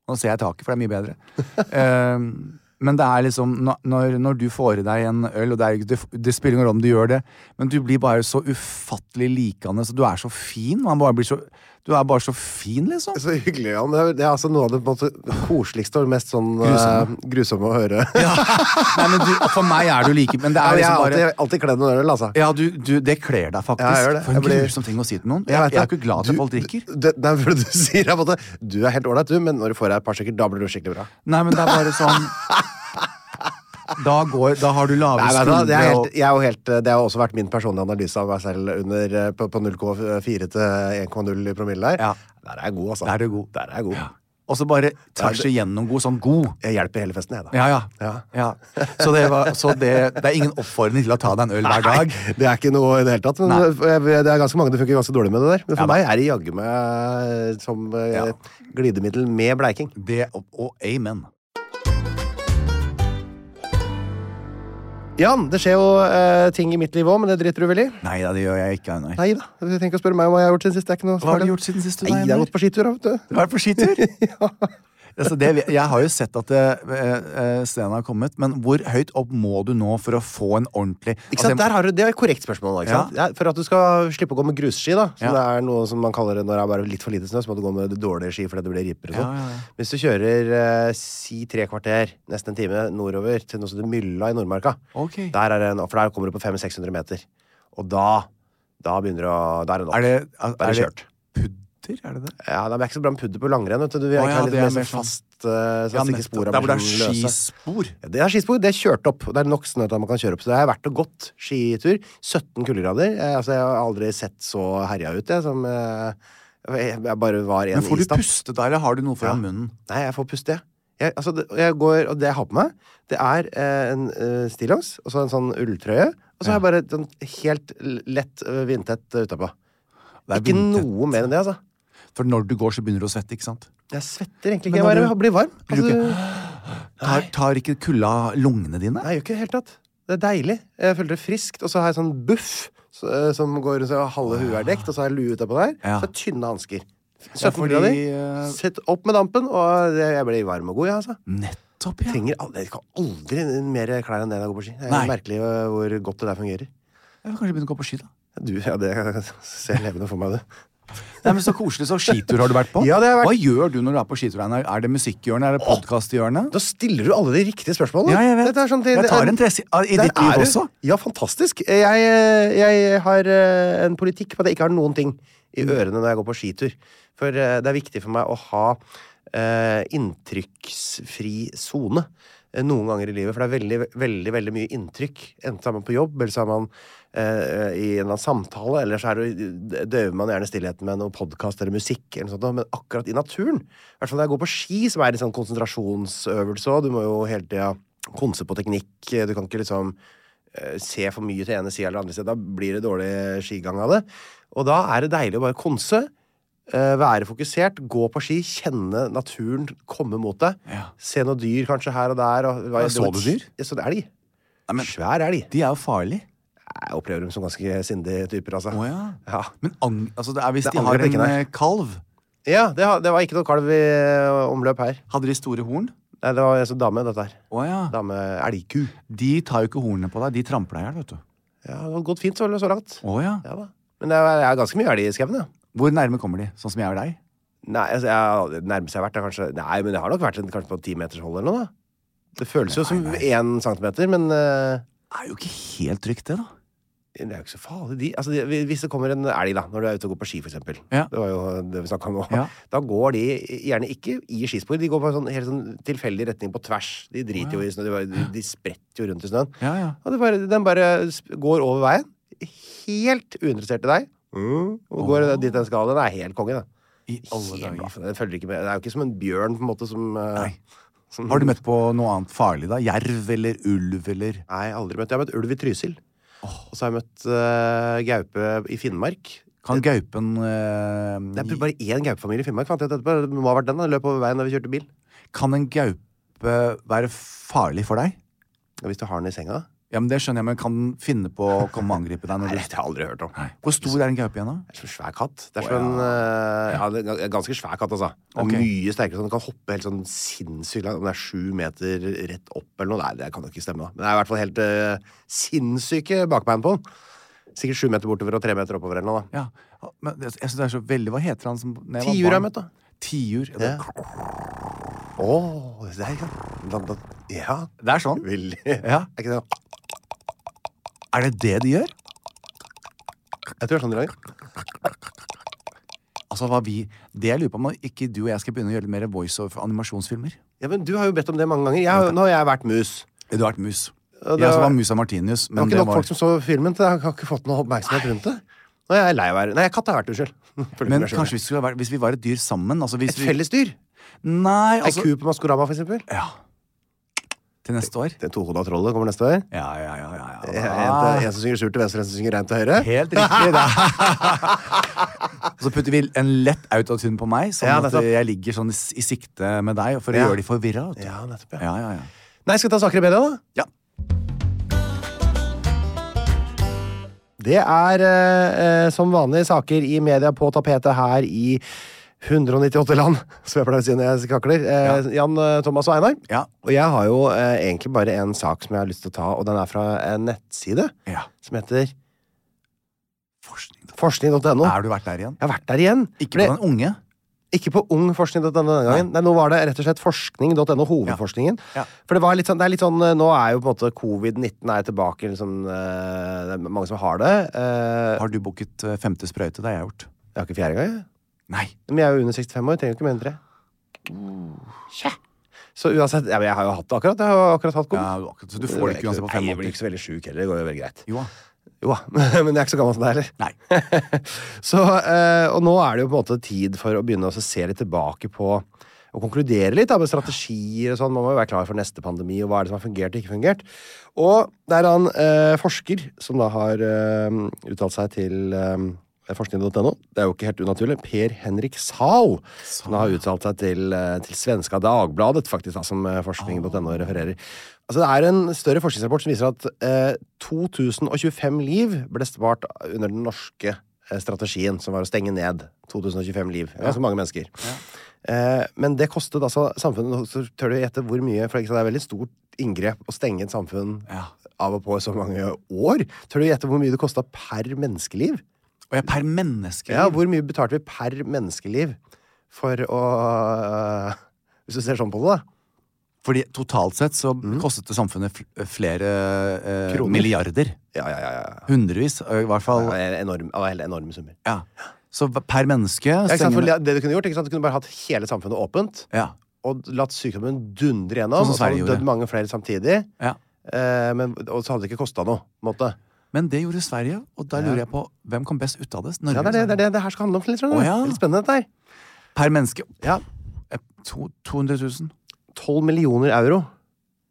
Nå ser jeg taket, for det er mye bedre. Ehm, men det er liksom når- når, når du får i deg en øl, og det, er, jo ikke- det, det spiller ingen rolle om du gjør det, men du blir bare så ufattelig likende, så du er så fin. Man bare blir så, du er bare så fin, liksom. Så hyggelig, ja. Men det er- det er altså noe av det på en måte, koseligste og mest sånn eh, Grusomme. grusomme å høre. Nei, men du, for meg er du like, men det Ja, er men jeg liksom har bare alltid, alltid kledd noen øl, altså. ja, du, du, Det kler deg faktisk. Ja, jeg gjør det. For en Jeg blir- grusom ting å si til noen. Jeg, Jeg jeg, vet er det. ikke glad Du- til at folk drikker. Det, det er fordi du sier at du er helt ålreit, du, men når du får deg et par stykker, da blir du skikkelig bra. Nei, men det er bare sånn Da, går, da har du lave Nei, vet du hva, det, skuldre er og helt, jeg er jo helt, det har også vært min personlige analyse av meg selv under, eh, på, på 0,4 til 1,0 i promille der. Ja. Der er jeg god, altså. Der er du god. Der er jeg god. Og så bare tvers igjennom god. Sånn god. Jeg hjelper hele festen, jeg, da. Ja, ja. Ja. ja. Så, det, var, så det, det er ingen oppfordring til å ta deg en øl hver dag. Det er ikke noe i det hele tatt, men eh, det er ganske mange det funker ganske dårlig med det der. Men for Ja da. meg er det jaggu meg eh, som eh, Ja. glidemiddel med bleiking. Det, og, og amen. Jan, det skjer jo eh, ting i mitt liv òg, men det driter du vel i? Nei da, det gjør jeg ikke. Nei. Nei da. Du trenger ikke å spørre meg om hva jeg har gjort siden sist. Det er ikke noe Hva har du farlig. gjort siden sist? du, Nei, jeg Einar? har gått på skitur, da, vet du. Du har vært på skitur? altså det, jeg har jo sett at eh, eh, Sten har kommet, men hvor høyt opp må du nå for å få en ordentlig Ikke sant? Altså, jeg- Der har du, det er et korrekt spørsmål. da, Ikke Ja. sant? Ja, for at du skal slippe å gå med grusski, da, som Ja. det er noe som man kaller det når det er bare litt for lite snø, så må du gå med dårlige ski fordi det blir ripper og sånn. Ja, ja, ja. Hvis du kjører eh, si tre kvarter, nesten en time, nordover til noe som heter Mylla i Nordmarka, Ok. der er det en, for der kommer du på 500-600 meter, og da da begynner du å Da er det nok. Er det, er, Da er det er kjørt. det pudder? Er det det? Ja, det er ikke så bra med pudder på langrenn. vet Du Du vil Å, egentlig ja, ha det er litt mer mer sånn sånn- fast eh, så at ikke nettopp. sporene der hvor det er blir sånn løse. skispor. Ja, Det er skispor. Det er kjørt opp. Det er nok snø til at man kan kjøre opp. Så det har vært og gått skitur. 17 kuldegrader. Eh, altså, jeg har aldri sett så herja ut, jeg, som eh, jeg, jeg bare var en Men får du isdamp. puste da, eller har du noe foran munnen? Nei, jeg får puste, jeg. Jeg, altså, det, og jeg går, og det jeg har på meg, det er eh, en eh, stillongs og så en sånn ulltrøye. Og så har jeg bare sånn helt l- lett eh, vindtett eh, utapå. Det er Ikke vindtett. noe mer enn det, altså. For når du går, så begynner du å svette, ikke sant? Jeg svetter egentlig Men ikke. Jeg har bare du- blir varm. Blir du Altså, Tar, tar ikke kulda lungene dine? Nei, jeg gjør ikke det i det hele tatt. Det er deilig. Jeg føler det friskt. Og så har jeg sånn buff så, eh, som går så halve huet er dekt, og så har jeg lue utapå der. Ah. Ja. Så er det tynne hansker. Ja, 17 fordi, grader. eh, Mm. Sett opp med dampen, og det- jeg blir varm og god, jeg, altså. Nettopp, ja. Trenger aldri, jeg kan aldri mer klær enn det når jeg går på ski. Det er Nei. merkelig eh, hvor godt det der fungerer. Jeg vil kanskje begynne å gå på ski, da. Du, ja, det ser levende for meg, du. Nei, men Så koselig. Så skitur har du vært på. Ja, det har jeg vært. Hva gjør du når du er på skitur? Einar? Er det musikkhjørnet? Er det podkasthjørnet? Da stiller du alle de riktige spørsmålene. Ja, jeg vet. Dette er sånn- Jeg tar en tres i- i Der ditt liv er du. også. Ja, fantastisk. Jeg, jeg har eh, en politikk på at jeg ikke har noen ting i ørene når jeg går på skitur. For eh, det er viktig for meg å ha eh, inntrykksfri sone eh, noen ganger i livet. For det er veldig, veldig veldig mye inntrykk. Enten er man på jobb, eller så er man eh, i en eller annen samtale, eller så er det, døver man gjerne stillheten med noe podkast eller musikk. eller noe sånt, noe. Men akkurat i naturen, i hvert fall når jeg går på ski, som er en sånn konsentrasjonsøvelse, og du må jo hele tida konse på teknikk, du kan ikke liksom eh, se for mye til ene sida eller andre sida. Da blir det dårlig skigang av det. Og da er det deilig å bare konse. eh, Være fokusert, gå på ski, kjenne naturen komme mot deg. Ja. Se noen dyr kanskje her og der. Og, Ja, så du dyr? Jeg så en elg. Nei, men- Svær elg. De er jo farlige. Jeg opplever dem som ganske sindige typer, altså. Å, ja. Ja. Men ang altså, det er hvis Det de har angrer en ikke der. eh, kalv Ja, det, har- det var ikke noe kalv i eh, omløp her. Hadde de store horn? Nei, det var altså dame, dette her. Å ja. Dame elgku. De tar jo ikke hornene på deg. De tramper deg i hjel, vet du. Ja, det har gått fint så, så langt. Å ja. Ja da. Men det er, det er ganske mye elg i skauen, ja. Hvor nærme kommer de? Sånn som jeg og deg? Nei, altså, jeg, det nærmeste jeg har vært er kanskje Nei, men det har nok vært en, kanskje på timetershold eller noe, da. Det føles jo som én centimeter, men eh, Det er jo ikke helt trygt, det, da. det er jo ikke så farlig. De, altså, de, hvis det kommer en elg, da, når du er ute og går på ski, for eksempel. Ja. Det var jo det vi snakka om nå. Ja. Da går de gjerne ikke i skispor, de går på en sånn, helt sånn tilfeldig retning på tvers. De driter jo i snø, de, bare- de, de spretter jo rundt i snøen. Ja, ja. Og det bare, den bare sp- går over veien, helt uinteressert i deg, Mm. og går dit den skal. Den er helt konge, den. I alle Helt bra dager. for deg. Den følger ikke med. Det er jo ikke som en bjørn, på en måte, som eh, Nei. Mm. som- Har du møtt på noe annet farlig, da? Jerv eller ulv eller Nei, aldri møtt. Jeg har møtt ulv i Trysil. Og så har jeg møtt eh, gaupe i Finnmark. Kan gaupen eh, Det er bare én gaupefamilie i Finnmark. Fant jeg ut etterpå. Det må ha vært den. da. Den løp over veien da vi kjørte bil. Kan en gaupe være farlig for deg? Og hvis du har den i senga Ja, men Det skjønner jeg, men kan den finne på å komme og angripe deg? Når Nei, du... dette har jeg aldri hørt om. Nei. Hvor stor er en gaupe igjen, da? Det er som en svær katt. Det er som en eh, ja, det er en ganske svær katt, altså. Den er Ok. Mye sterkere. Sånn. Den kan hoppe helt sånn sinnssykt langt. Om det er sju meter rett opp eller noe. Nei, det kan jo ikke stemme, da. Men det er i hvert fall helt eh, sinnssyke bakbein på den. Sikkert sju meter bortover og tre meter oppover eller noe. da. Ja. Men det- jeg synes det er så veldig Hva heter han som når jeg Tiur var har jeg barn? møtt, da. Tiur. Ja, det- Å, det er da, da, Ja, Det er sånn. veldig Ja. Er ikke det Er det det de gjør? Jeg tror det er sånn de lager. Altså, hva vi Det jeg lurer på om ikke du og jeg skal begynne å gjøre litt mer voiceover for animasjonsfilmer. Ja, men Du har jo bedt om det mange ganger. Jeg, har- nå har jeg vært mus. Du har vært mus. Og det Jeg også var- var musa Martinius. Det var Men ikke det nok var... folk som så filmen til det. Jeg har ikke fått noe oppmerksomhet rundt det. Nå er jeg lei av å være Nei, katt har jeg vært, unnskyld. Føler Men meg selv. kanskje vi skulle vært, hvis vi var et dyr sammen altså hvis Et fellesdyr? Vi... Nei, Ei altså ku på Maskorama, for eksempel? ja. Til neste år? Det tohoda trollet kommer neste år. Ja, ja, ja. ja, ja. En, til- en som synger surt til venstre, en som synger reint til høyre. Ah. Helt riktig, da. Så putter vi en lett autotune på meg, sånn Ja, at nettopp. jeg ligger sånn i s- i sikte med deg, for å Ja. gjøre de forvirra. vet du. Ja, nettopp, ja. Ja, ja, ja. Nei, skal vi ta saker i media, da? ja. Det er eh, eh, som vanlig saker i media på tapetet her i 198 land, som jeg pleier å si når jeg kakler. Eh, Jan, eh, Thomas og Einar. Ja. Og jeg har jo eh, egentlig bare en sak som jeg har lyst til å ta, og den er fra en nettside ja. som heter Forskning. da. forskning.no. Har du vært der igjen? Jeg har vært der igjen. Ikke Ble- på den unge? Ikke på ungforskning.no denne gangen. Nei, nå var det rett og slett forskning.no, hovedforskningen. Ja. Ja. For det var litt sånn, det er litt sånn eh, Nå er jo på en måte covid-19 er tilbake, liksom, eh, det er mange som har det. Eh, Har du booket eh, femte sprøyte? Det har jeg gjort. Jeg har ikke fjerde gang, jeg. Nei. Men jeg er jo under 65 år, trenger jo ikke mer enn tre. Uh, Tja. Så uansett, ja, men jeg har jo hatt det akkurat. Jeg har jo akkurat hatt Ja, covid. akkurat. Så du får det ikke uansett Nei, på Jeg blir fem liksom. ikke så veldig sjuk heller, det går jo veldig greit. Jo da. Jo da, men jeg er ikke så gammel som deg heller. Nei. Så, eh, og nå er det jo på en måte tid for å begynne å se litt tilbake på og konkludere litt da, med strategier og sånn. Man må jo være klar for neste pandemi, og hva er det som har fungert og ikke fungert. Og det er han eh, forsker som da har eh, uttalt seg til eh, forskning.no. Det er jo ikke helt unaturlig. Per Henrik Zahl. Han har uttalt seg til, eh, til svenska Dagbladet, faktisk, da, som eh, forskning.no refererer. Altså, det er en større forskningsrapport som viser at eh, 2025 liv ble spart under den norske eh, strategien, som var å stenge ned 2025 liv. Ganske mange mennesker. Eh, men det kostet altså samfunnet Så tør du gjette hvor mye, for ikke sant, det er veldig stort inngrep å stenge et samfunn Ja. av og på i så mange år. Tør du gjette hvor mye det kosta per menneskeliv? Og jeg er per menneske. Ja, Hvor mye betalte vi per menneskeliv for å øh, Hvis du ser sånn på det, da. Fordi totalt sett så kostet det samfunnet fl- flere eh, Mm. Kroner. milliarder. Ja, ja, ja. ja. Hundrevis, eh, i hvert fall. Det er enorm, det var helt enorme summer. Ja. Så hva- per menneske Ja, ikke sant? stenger- For det det du kunne gjort, ikke sant? Du kunne bare hatt hele samfunnet åpent ja. og latt sykdommen dundre Sånn gjennom. som og så hadde Sverige det dødd gjorde. mange flere samtidig. ja. Eh, men, og så hadde det ikke kosta noe. på en Måte. Men det gjorde Sverige, og da lurer jeg på hvem kom best ut av det? Norge Ja, det er det, det er det det her skal handle om. Litt, skjønner du. Å, ja. Det er litt spennende, dette her. Per menneske Ja. eh, to, 200 000. 12 millioner euro.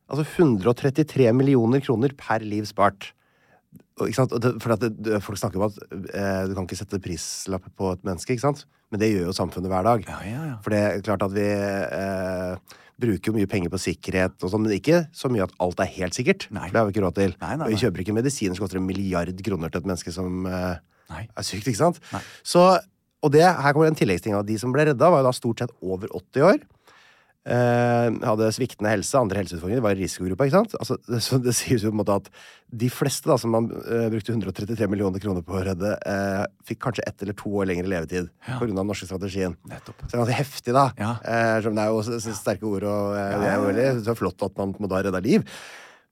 Altså 133 millioner kroner per liv spart. Og, ikke sant? Og det, for at det, det, folk snakker om at eh, du kan ikke sette prislapp på et menneske, ikke sant? men det gjør jo samfunnet hver dag. Ja, ja, ja. For det er klart at vi eh, bruker jo mye penger på sikkerhet, og sånn, men ikke så mye at alt er helt sikkert. Nei. For det har vi ikke råd til. Nei, nei, Og vi nei. kjøper ikke medisiner som koster en milliard kroner til et menneske som eh, Nei. er sykt, ikke sant? Nei. Så, og det, her kommer en tilleggsting av de som ble redda, var jo da stort sett over 80 år. Eh, hadde sviktende helse, andre helseutfordringer, var i risikogruppa, ikke sant? Altså, det, så det sies jo på en måte at de fleste da, som man eh, brukte 133 millioner kroner på å redde, eh, fikk kanskje ett eller to år lengre levetid på grunn av den norske strategien. Nettopp. Så det er ganske heftig, da. Ja. Eh, selv om det er jo også så sterke ord, og eh, det er jo veldig så flott at man må da redde liv.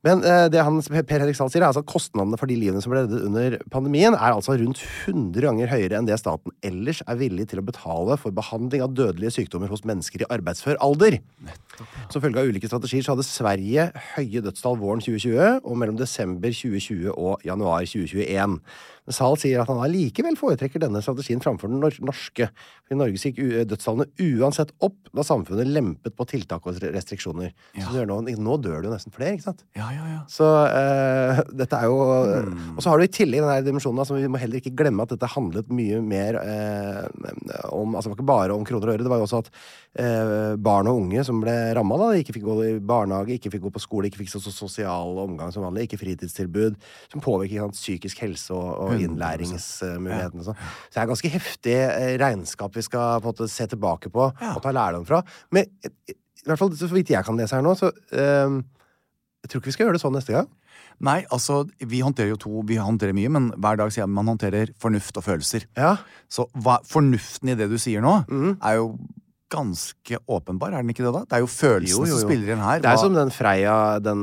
Men eh, det han, Per Henrik Sahl sier, er altså at kostnadene for de livene som ble reddet under pandemien, er altså rundt 100 ganger høyere enn det staten ellers er villig til å betale for behandling av dødelige sykdommer hos mennesker i arbeidsfør alder. Som følge av ulike strategier så hadde Sverige høye dødstall våren 2020 og mellom desember 2020 og januar 2021. Men Zahl sier at han allikevel foretrekker denne strategien framfor den nor- norske. I Norge gikk u- dødstallene uansett opp da samfunnet lempet på tiltak og restriksjoner. Så du hører nå, nå dør det jo nesten flere, ikke sant? Ja, ja, ja. Så eh, dette er jo Og så har du i tillegg den her dimensjonen altså, vi må heller ikke glemme at dette handlet mye mer eh, om Altså det var ikke bare om kroner og øre, det var jo også at eh, barn og unge som ble ramma, da, de ikke fikk gå i barnehage, ikke fikk gå på skole, ikke fikk så så sosial omgang som vanlig, ikke fritidstilbud, som påvirker ikke sant, psykisk helse og, og 100%. innlæringsmulighetene og sånn. Så det er ganske heftig eh, regnskap vi skal på en måte se tilbake på og ta lærdom fra. Men i i hvert fall så vidt jeg kan lese her nå, så eh, jeg tror ikke vi skal gjøre det sånn neste gang. Nei, altså, vi håndterer jo to Vi håndterer mye, men hver dag sier jeg at man håndterer fornuft og følelser. Ja. Så hva, fornuften i det du sier nå, Mhm. er jo ganske åpenbar, er den ikke det, da? Det er jo følelsene som spiller inn her. Det er Hva- som den Freia, den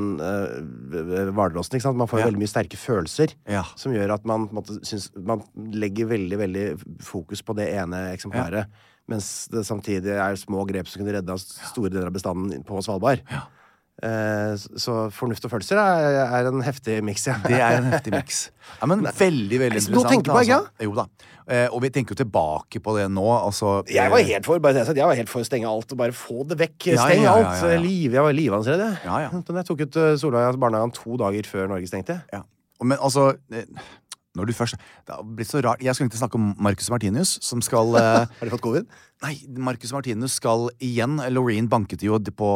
uh, hvalrossen. ikke sant? Man får jo Ja. veldig mye sterke følelser. Ja. Som gjør at man, på en måte, syns, man legger veldig veldig fokus på det ene eksemplaret. Mens det samtidig er små grep som kunne redda store deler av bestanden på Svalbard. Eh, s- så fornuft og følelser er, er en heftig miks, ja. Det er en heftig miks. Ja, men veldig, veldig så noe å interessant. tenke på, ikke altså. Jo da. Eh, og vi tenker jo tilbake på det nå, altså. Jeg var eh, helt for bare det jeg sa, jeg var helt for å stenge alt. og Bare få det vekk. Ja, Steng ja, ja, alt. ja, ja. Liv, jeg var livansredd, jeg. Ja, ja. Men Jeg tok ut eh, Solveig barnehagen to dager før Norge stengte. Ja. Og- Men altså eh, Når du først Det har blitt så rart. Jeg skulle egentlig snakke om Marcus Martinus, som skal eh, Har de fått covid? Nei, Marcus Martinus skal igjen eh, Loreen banket jo på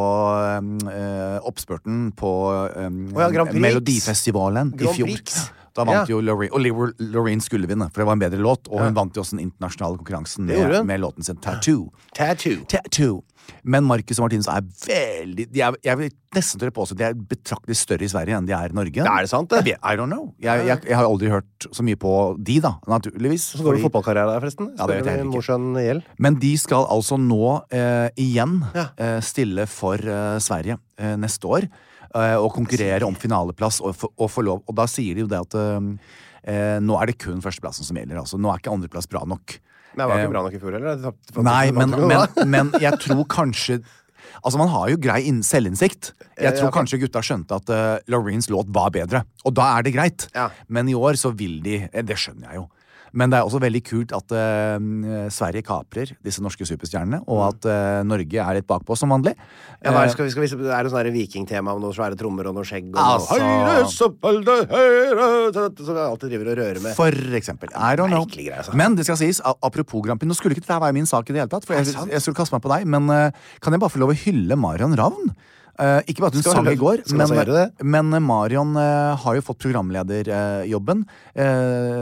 eh, oppspurten på eh, Å ja, Grand Prix. Melodifestivalen i Grand fjor. Prix. Da vant Ja. jo Loreen, og Lor- Loreen skulle vinne, for det var en bedre låt. Og hun vant jo også den internasjonale konkurransen Det gjorde med, hun. med låten sin Tattoo. Tattoo. Tattoo. Men Marcus og Martinus er veldig de er, Jeg vil nesten tørre påstå at de er betraktelig større i Sverige enn de er i Norge. Er det sant, det? Jeg vet- I don't know. Jeg, jeg, jeg har aldri hørt så mye på de, da, naturligvis. Så går det fordi- fotballkarriere der, forresten. Ja, det vet jeg Spiller med ikke. Mosjøen Gjell. Men de skal altså nå eh, igjen Ja. eh, stille for eh, Sverige eh, neste år. Eh, og konkurrere om finaleplass og, få- og få lov. Og da sier de jo det at eh, nå er det kun førsteplassen som gjelder. Altså. Nå er ikke andreplass bra nok. Men jeg var Eh, ikke bra nok i fjor, eller? Jeg tapte- Nei, men, tapte- men, men jeg tror kanskje Altså, Man har jo grei inn, selvinnsikt. Jeg tror kanskje gutta skjønte at uh, Loreens låt var bedre. Og da er det greit. Ja. Men i år så vil de eh, Det skjønner jeg jo. Men det er også veldig kult at eh, Sverige kaprer disse norske superstjernene, og at eh, Norge er litt bakpå som vanlig. Mm. Ja, hva er, Eh. det- skal vi, skal vi, se- det er noe sånn her vikingtema om noen svære trommer og noe skjegg og Altså- noe høyre, søppelde, høyre, så- så- så jeg alltid driver og rører med. For eksempel. I don't know. Merkelig greie, altså. Men det skal sies, a- apropos Grand Prix, nå skulle ikke dette her være min sak i det hele tatt, for jeg, jeg skulle kaste meg på deg, men eh, kan jeg bare få lov å hylle Marion Ravn? Eh, ikke bare at hun Skal sang du- i går, skal du men, også gjøre men eh, Marion eh, har jo fått programlederjobben,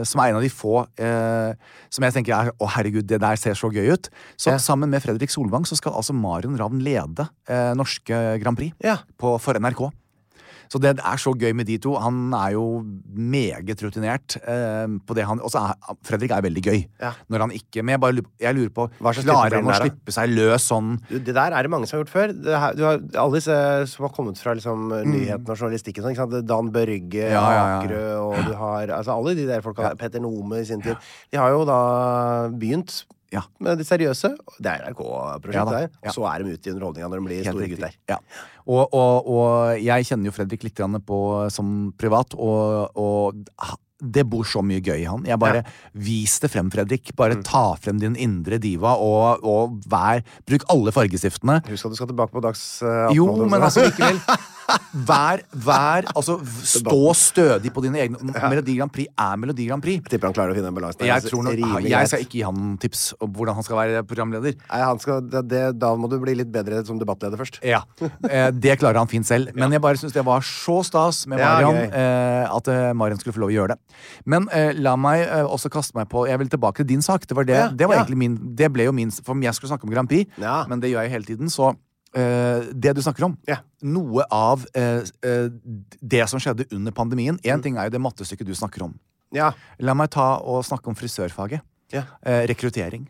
som er en av de få eh, som jeg tenker er Å, herregud, det der ser så gøy ut. Så sammen med Fredrik Solvang så skal altså Marion Ravn lede eh, norske Grand Prix Ja. på, for NRK. Så det er så gøy med de to. Han er jo meget rutinert eh, på det han Og så er Fredrik er veldig gøy. Ja. Når han ikke Men jeg bare lurer på, jeg lurer på Hva slags type Klarer blir han han å der, da? slippe seg løs sånn? Du, Det der er det mange som har gjort før. Det her, du har alle disse som har kommet fra liksom, nyhetene og journalistikken. Sånn, ikke sant? Dan Børge, Mm. Ja, ja, ja. Akerø og du har altså, Alle de der folka. Petter Nome i sin tid. De har jo da begynt Ja. med de seriøse. Det er Ja NRK-prosjektet da, der. ja. Så er de ute i underholdninga når de blir Helt store riktig. gutter. Ja. Og, og, og jeg kjenner jo Fredrik litt grann på, som privat, og, og ha- det bor så mye gøy i han. Jeg bare Vis det frem, Fredrik. Mm. Bare ta frem din indre diva, og, og vær Bruk alle fargestiftene. Husk at du skal tilbake på Dags eh, 18 Jo, og sånn. men altså likevel. Vær, vær Altså, v- stå stødig på dine egne Melodi Grand Prix er Melodi Grand Prix. Jeg tipper han klarer å finne en balanse. der. Jeg, tror nok, Rimelig jeg greit. skal ikke gi han tips om hvordan han skal være programleder. Nei, han skal, det, det, da må du bli litt bedre som debattleder først. Ja, eh, Det klarer han fint selv. Men jeg bare syns det var så stas med Ja, Marion gøy. eh, at eh, Marion skulle få lov å gjøre det. Men eh, la meg eh, også kaste meg på Jeg vil tilbake til din sak. Det var det, Ja, det var ja. egentlig min Det ble jo min For jeg skulle snakke om Grand Prix, Ja. men det gjør jeg hele tiden. Så eh, det du snakker om Ja. Noe av eh, eh, det som skjedde under pandemien Én Mm. ting er jo det mattestykket du snakker om. Ja. La meg ta og snakke om frisørfaget. Ja. Eh, rekruttering.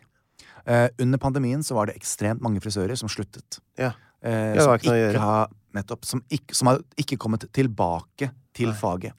Eh, under pandemien så var det ekstremt mange frisører som sluttet. ja. Ja, Eh, det som har ikke noe å gjøre. ikke har nettopp, som, ikke, som har ikke kommet tilbake til faget.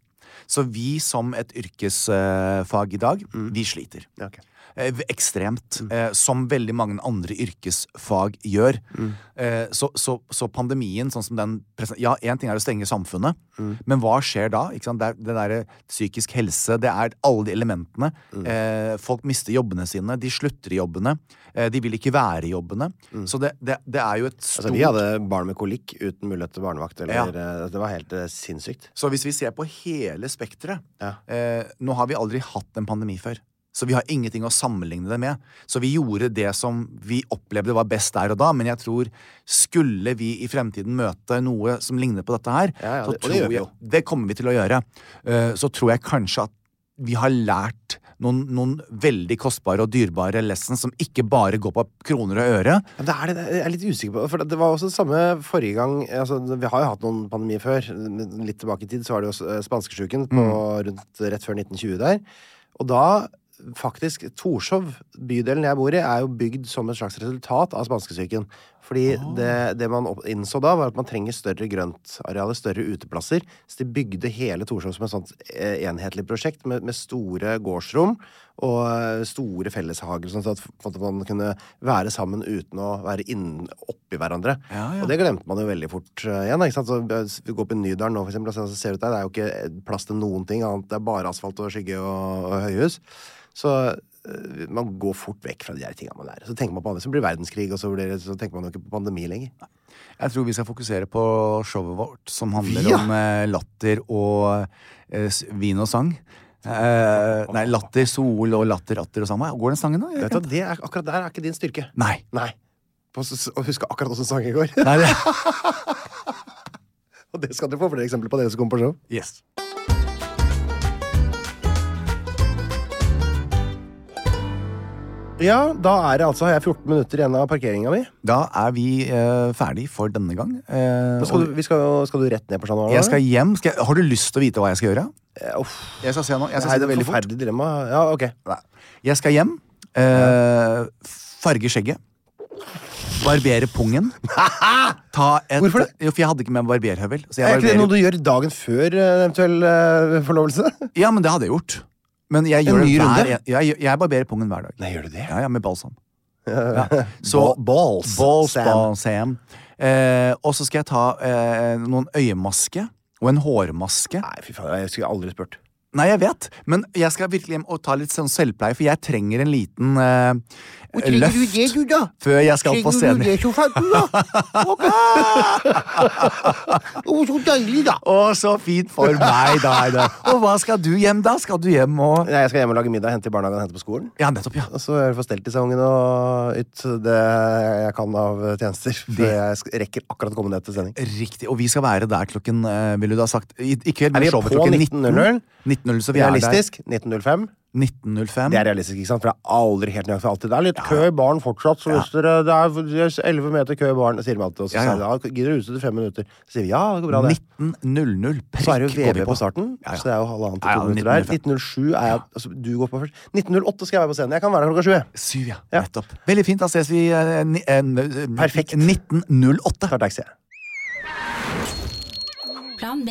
Så vi som et yrkesfag i dag, vi sliter. Mm. Ja, ok. Mm. Eh, ekstremt. Eh, som veldig mange andre yrkesfag gjør. Mm. Eh, så, så, så pandemien, sånn som den presen- Ja, én ting er å stenge samfunnet, Mm. men hva skjer da? Ikke sant? Det, er, det derre psykisk helse, det er alle de elementene. Mm. Eh, folk mister jobbene sine, de slutter i jobbene. Eh, de vil ikke være i jobbene. Så det, det, det er jo et stort Mm. Altså, vi hadde barn med kolikk uten mulighet til barnevakt. Ja. Eller, eh, Det var helt eh, sinnssykt. Så hvis vi ser på hele spekteret Ja. eh, Nå har vi aldri hatt en pandemi før. Så vi har ingenting å sammenligne det med. Så vi gjorde det som vi opplevde var best der og da, men jeg tror skulle vi i fremtiden møte noe som ligner på dette her, Ja, ja, det- så og det tror gjør vi jo. jeg, det kommer vi til å gjøre. Eh, så tror jeg kanskje at vi har lært noen, noen veldig kostbare og dyrebare lessons som ikke bare går på kroner og øre. Ja, Det er det, det- jeg er litt usikker på For det- det var også det samme forrige gang altså, Vi har jo hatt noen pandemier før Litt tilbake i tid så var det jo eh, spanskesjuken på, rundt, eh, Rett før 1920 der Og da faktisk Torshov Bydelen jeg bor i er jo bygd som et slags resultat Av spanskesyken Fordi det, det man opp- innså da var at man trenger Større grøntarealer, større uteplasser Så de bygde hele Torshov som et sånt eh, Enhetlig prosjekt med, med store gårdsrom og eh, store felleshager, sånn at for at man kunne være sammen uten å være inn, oppi hverandre. Og det glemte man jo veldig fort eh, igjen. da, Ikke sant? Så, eh, s- vi går på Nydalen nå, for eksempel, og så så ser du det, det er jo ikke eh, plass til noen ting annet. Det er bare asfalt og skygge og, og høyhus. Så eh, man går fort vekk fra de der tingene man lærer. Så tenker man på andre, så blir det verdenskrig, og så, blir, det- så tenker man jo ikke på pandemi lenger. Jeg tror vi skal fokusere på showet vårt, som handler Ja. om eh, latter og eh, s- vin og sang. Eh, nei, latter, sol og latter, atter og samme. Går den sangen, da? Jeg Vet du, hva, det er, akkurat der er ikke din styrke. kan- Nei. Nei. På s- s- Å huske akkurat åssen sangen går. nei det... og det skal dere få flere eksempler på, dere som kommer på show. Yes. Ja, da er det altså, har jeg 14 minutter igjen av parkeringa mi. Da er vi eh, ferdig for denne gang. Eh, Nå Skal og du, vi skal, jo- skal du rett ned på Chat Noir? jeg skal hjem. Skal jeg... Har du lyst til å vite hva jeg skal gjøre? Eh, uff, Jeg skal se nå. det Jeg skal si er et det veldig fort. forferdelig dilemma. Ja, ok. Nei. Jeg skal hjem. eh, farge skjegget. Barbere pungen. Ta et... Hvorfor det? Jo, for jeg hadde ikke med barberhøvel. så jeg Er ikke det barberer- noe du gjør dagen før eh, eventuell eh, forlovelse? Ja, men det hadde jeg gjort. Men jeg En gjør det ny hver, runde? en- jeg, jeg, jeg barberer pungen hver dag. Nei, gjør du det? Ja, ja, med balsam. Ja. Så, Ba- balls, Balls, Sam. balsam. Eh, og så skal jeg ta eh, noen øyemaske og en hårmaske. Nei, fy faen, jeg skulle aldri spurt. Nei, jeg vet, men jeg skal virkelig hjem og ta litt sånn selvpleie, for jeg trenger en liten eh, løft før jeg skal på scenen. så fant du, da? Ok. Å, så deilig, da. Å, så fint for meg, da. Aida. Og hva skal du hjem, da? Skal du hjem og Nei, Jeg skal hjem og lage middag, hente i barnehagen og hente på skolen. Ja, nettopp, ja. Og så er det få stelt i sesongen og ut det jeg kan av tjenester. Før jeg sk- rekker akkurat å komme ned til sending. Riktig. Og vi skal være der klokken eh, vil du da ha sagt, i, i kveld. Er vi blir showet på klokken 19.00? 19.00, så vi er der. Mm. Realistisk 1905. 19.05. Det er realistisk, ikke sant? For det er aldri helt nøyaktig alltid. Det er litt kø i baren fortsatt, så hvis dere Det er elleve meter kø i baren, sier de alltid. Og så Ja, sier ja. de ja, gidder du utstå til fem minutter? Så sier vi ja, det går bra, det. 19.00. Så er det jo prikk, går VB vi på. starten, Ja, ja. så det er jo halvannet til Ja, ja, to minutter der. 1905. 1907 er jeg altså, Du går på først. 1908 skal jeg være på scenen. Jeg kan være der klokka sju. jeg. Syv, ja. Ja. Nettopp. Veldig fint. Da ses vi eh, ni, eh, n- Perfekt. 1908. Tar taxi. jeg. Plan B.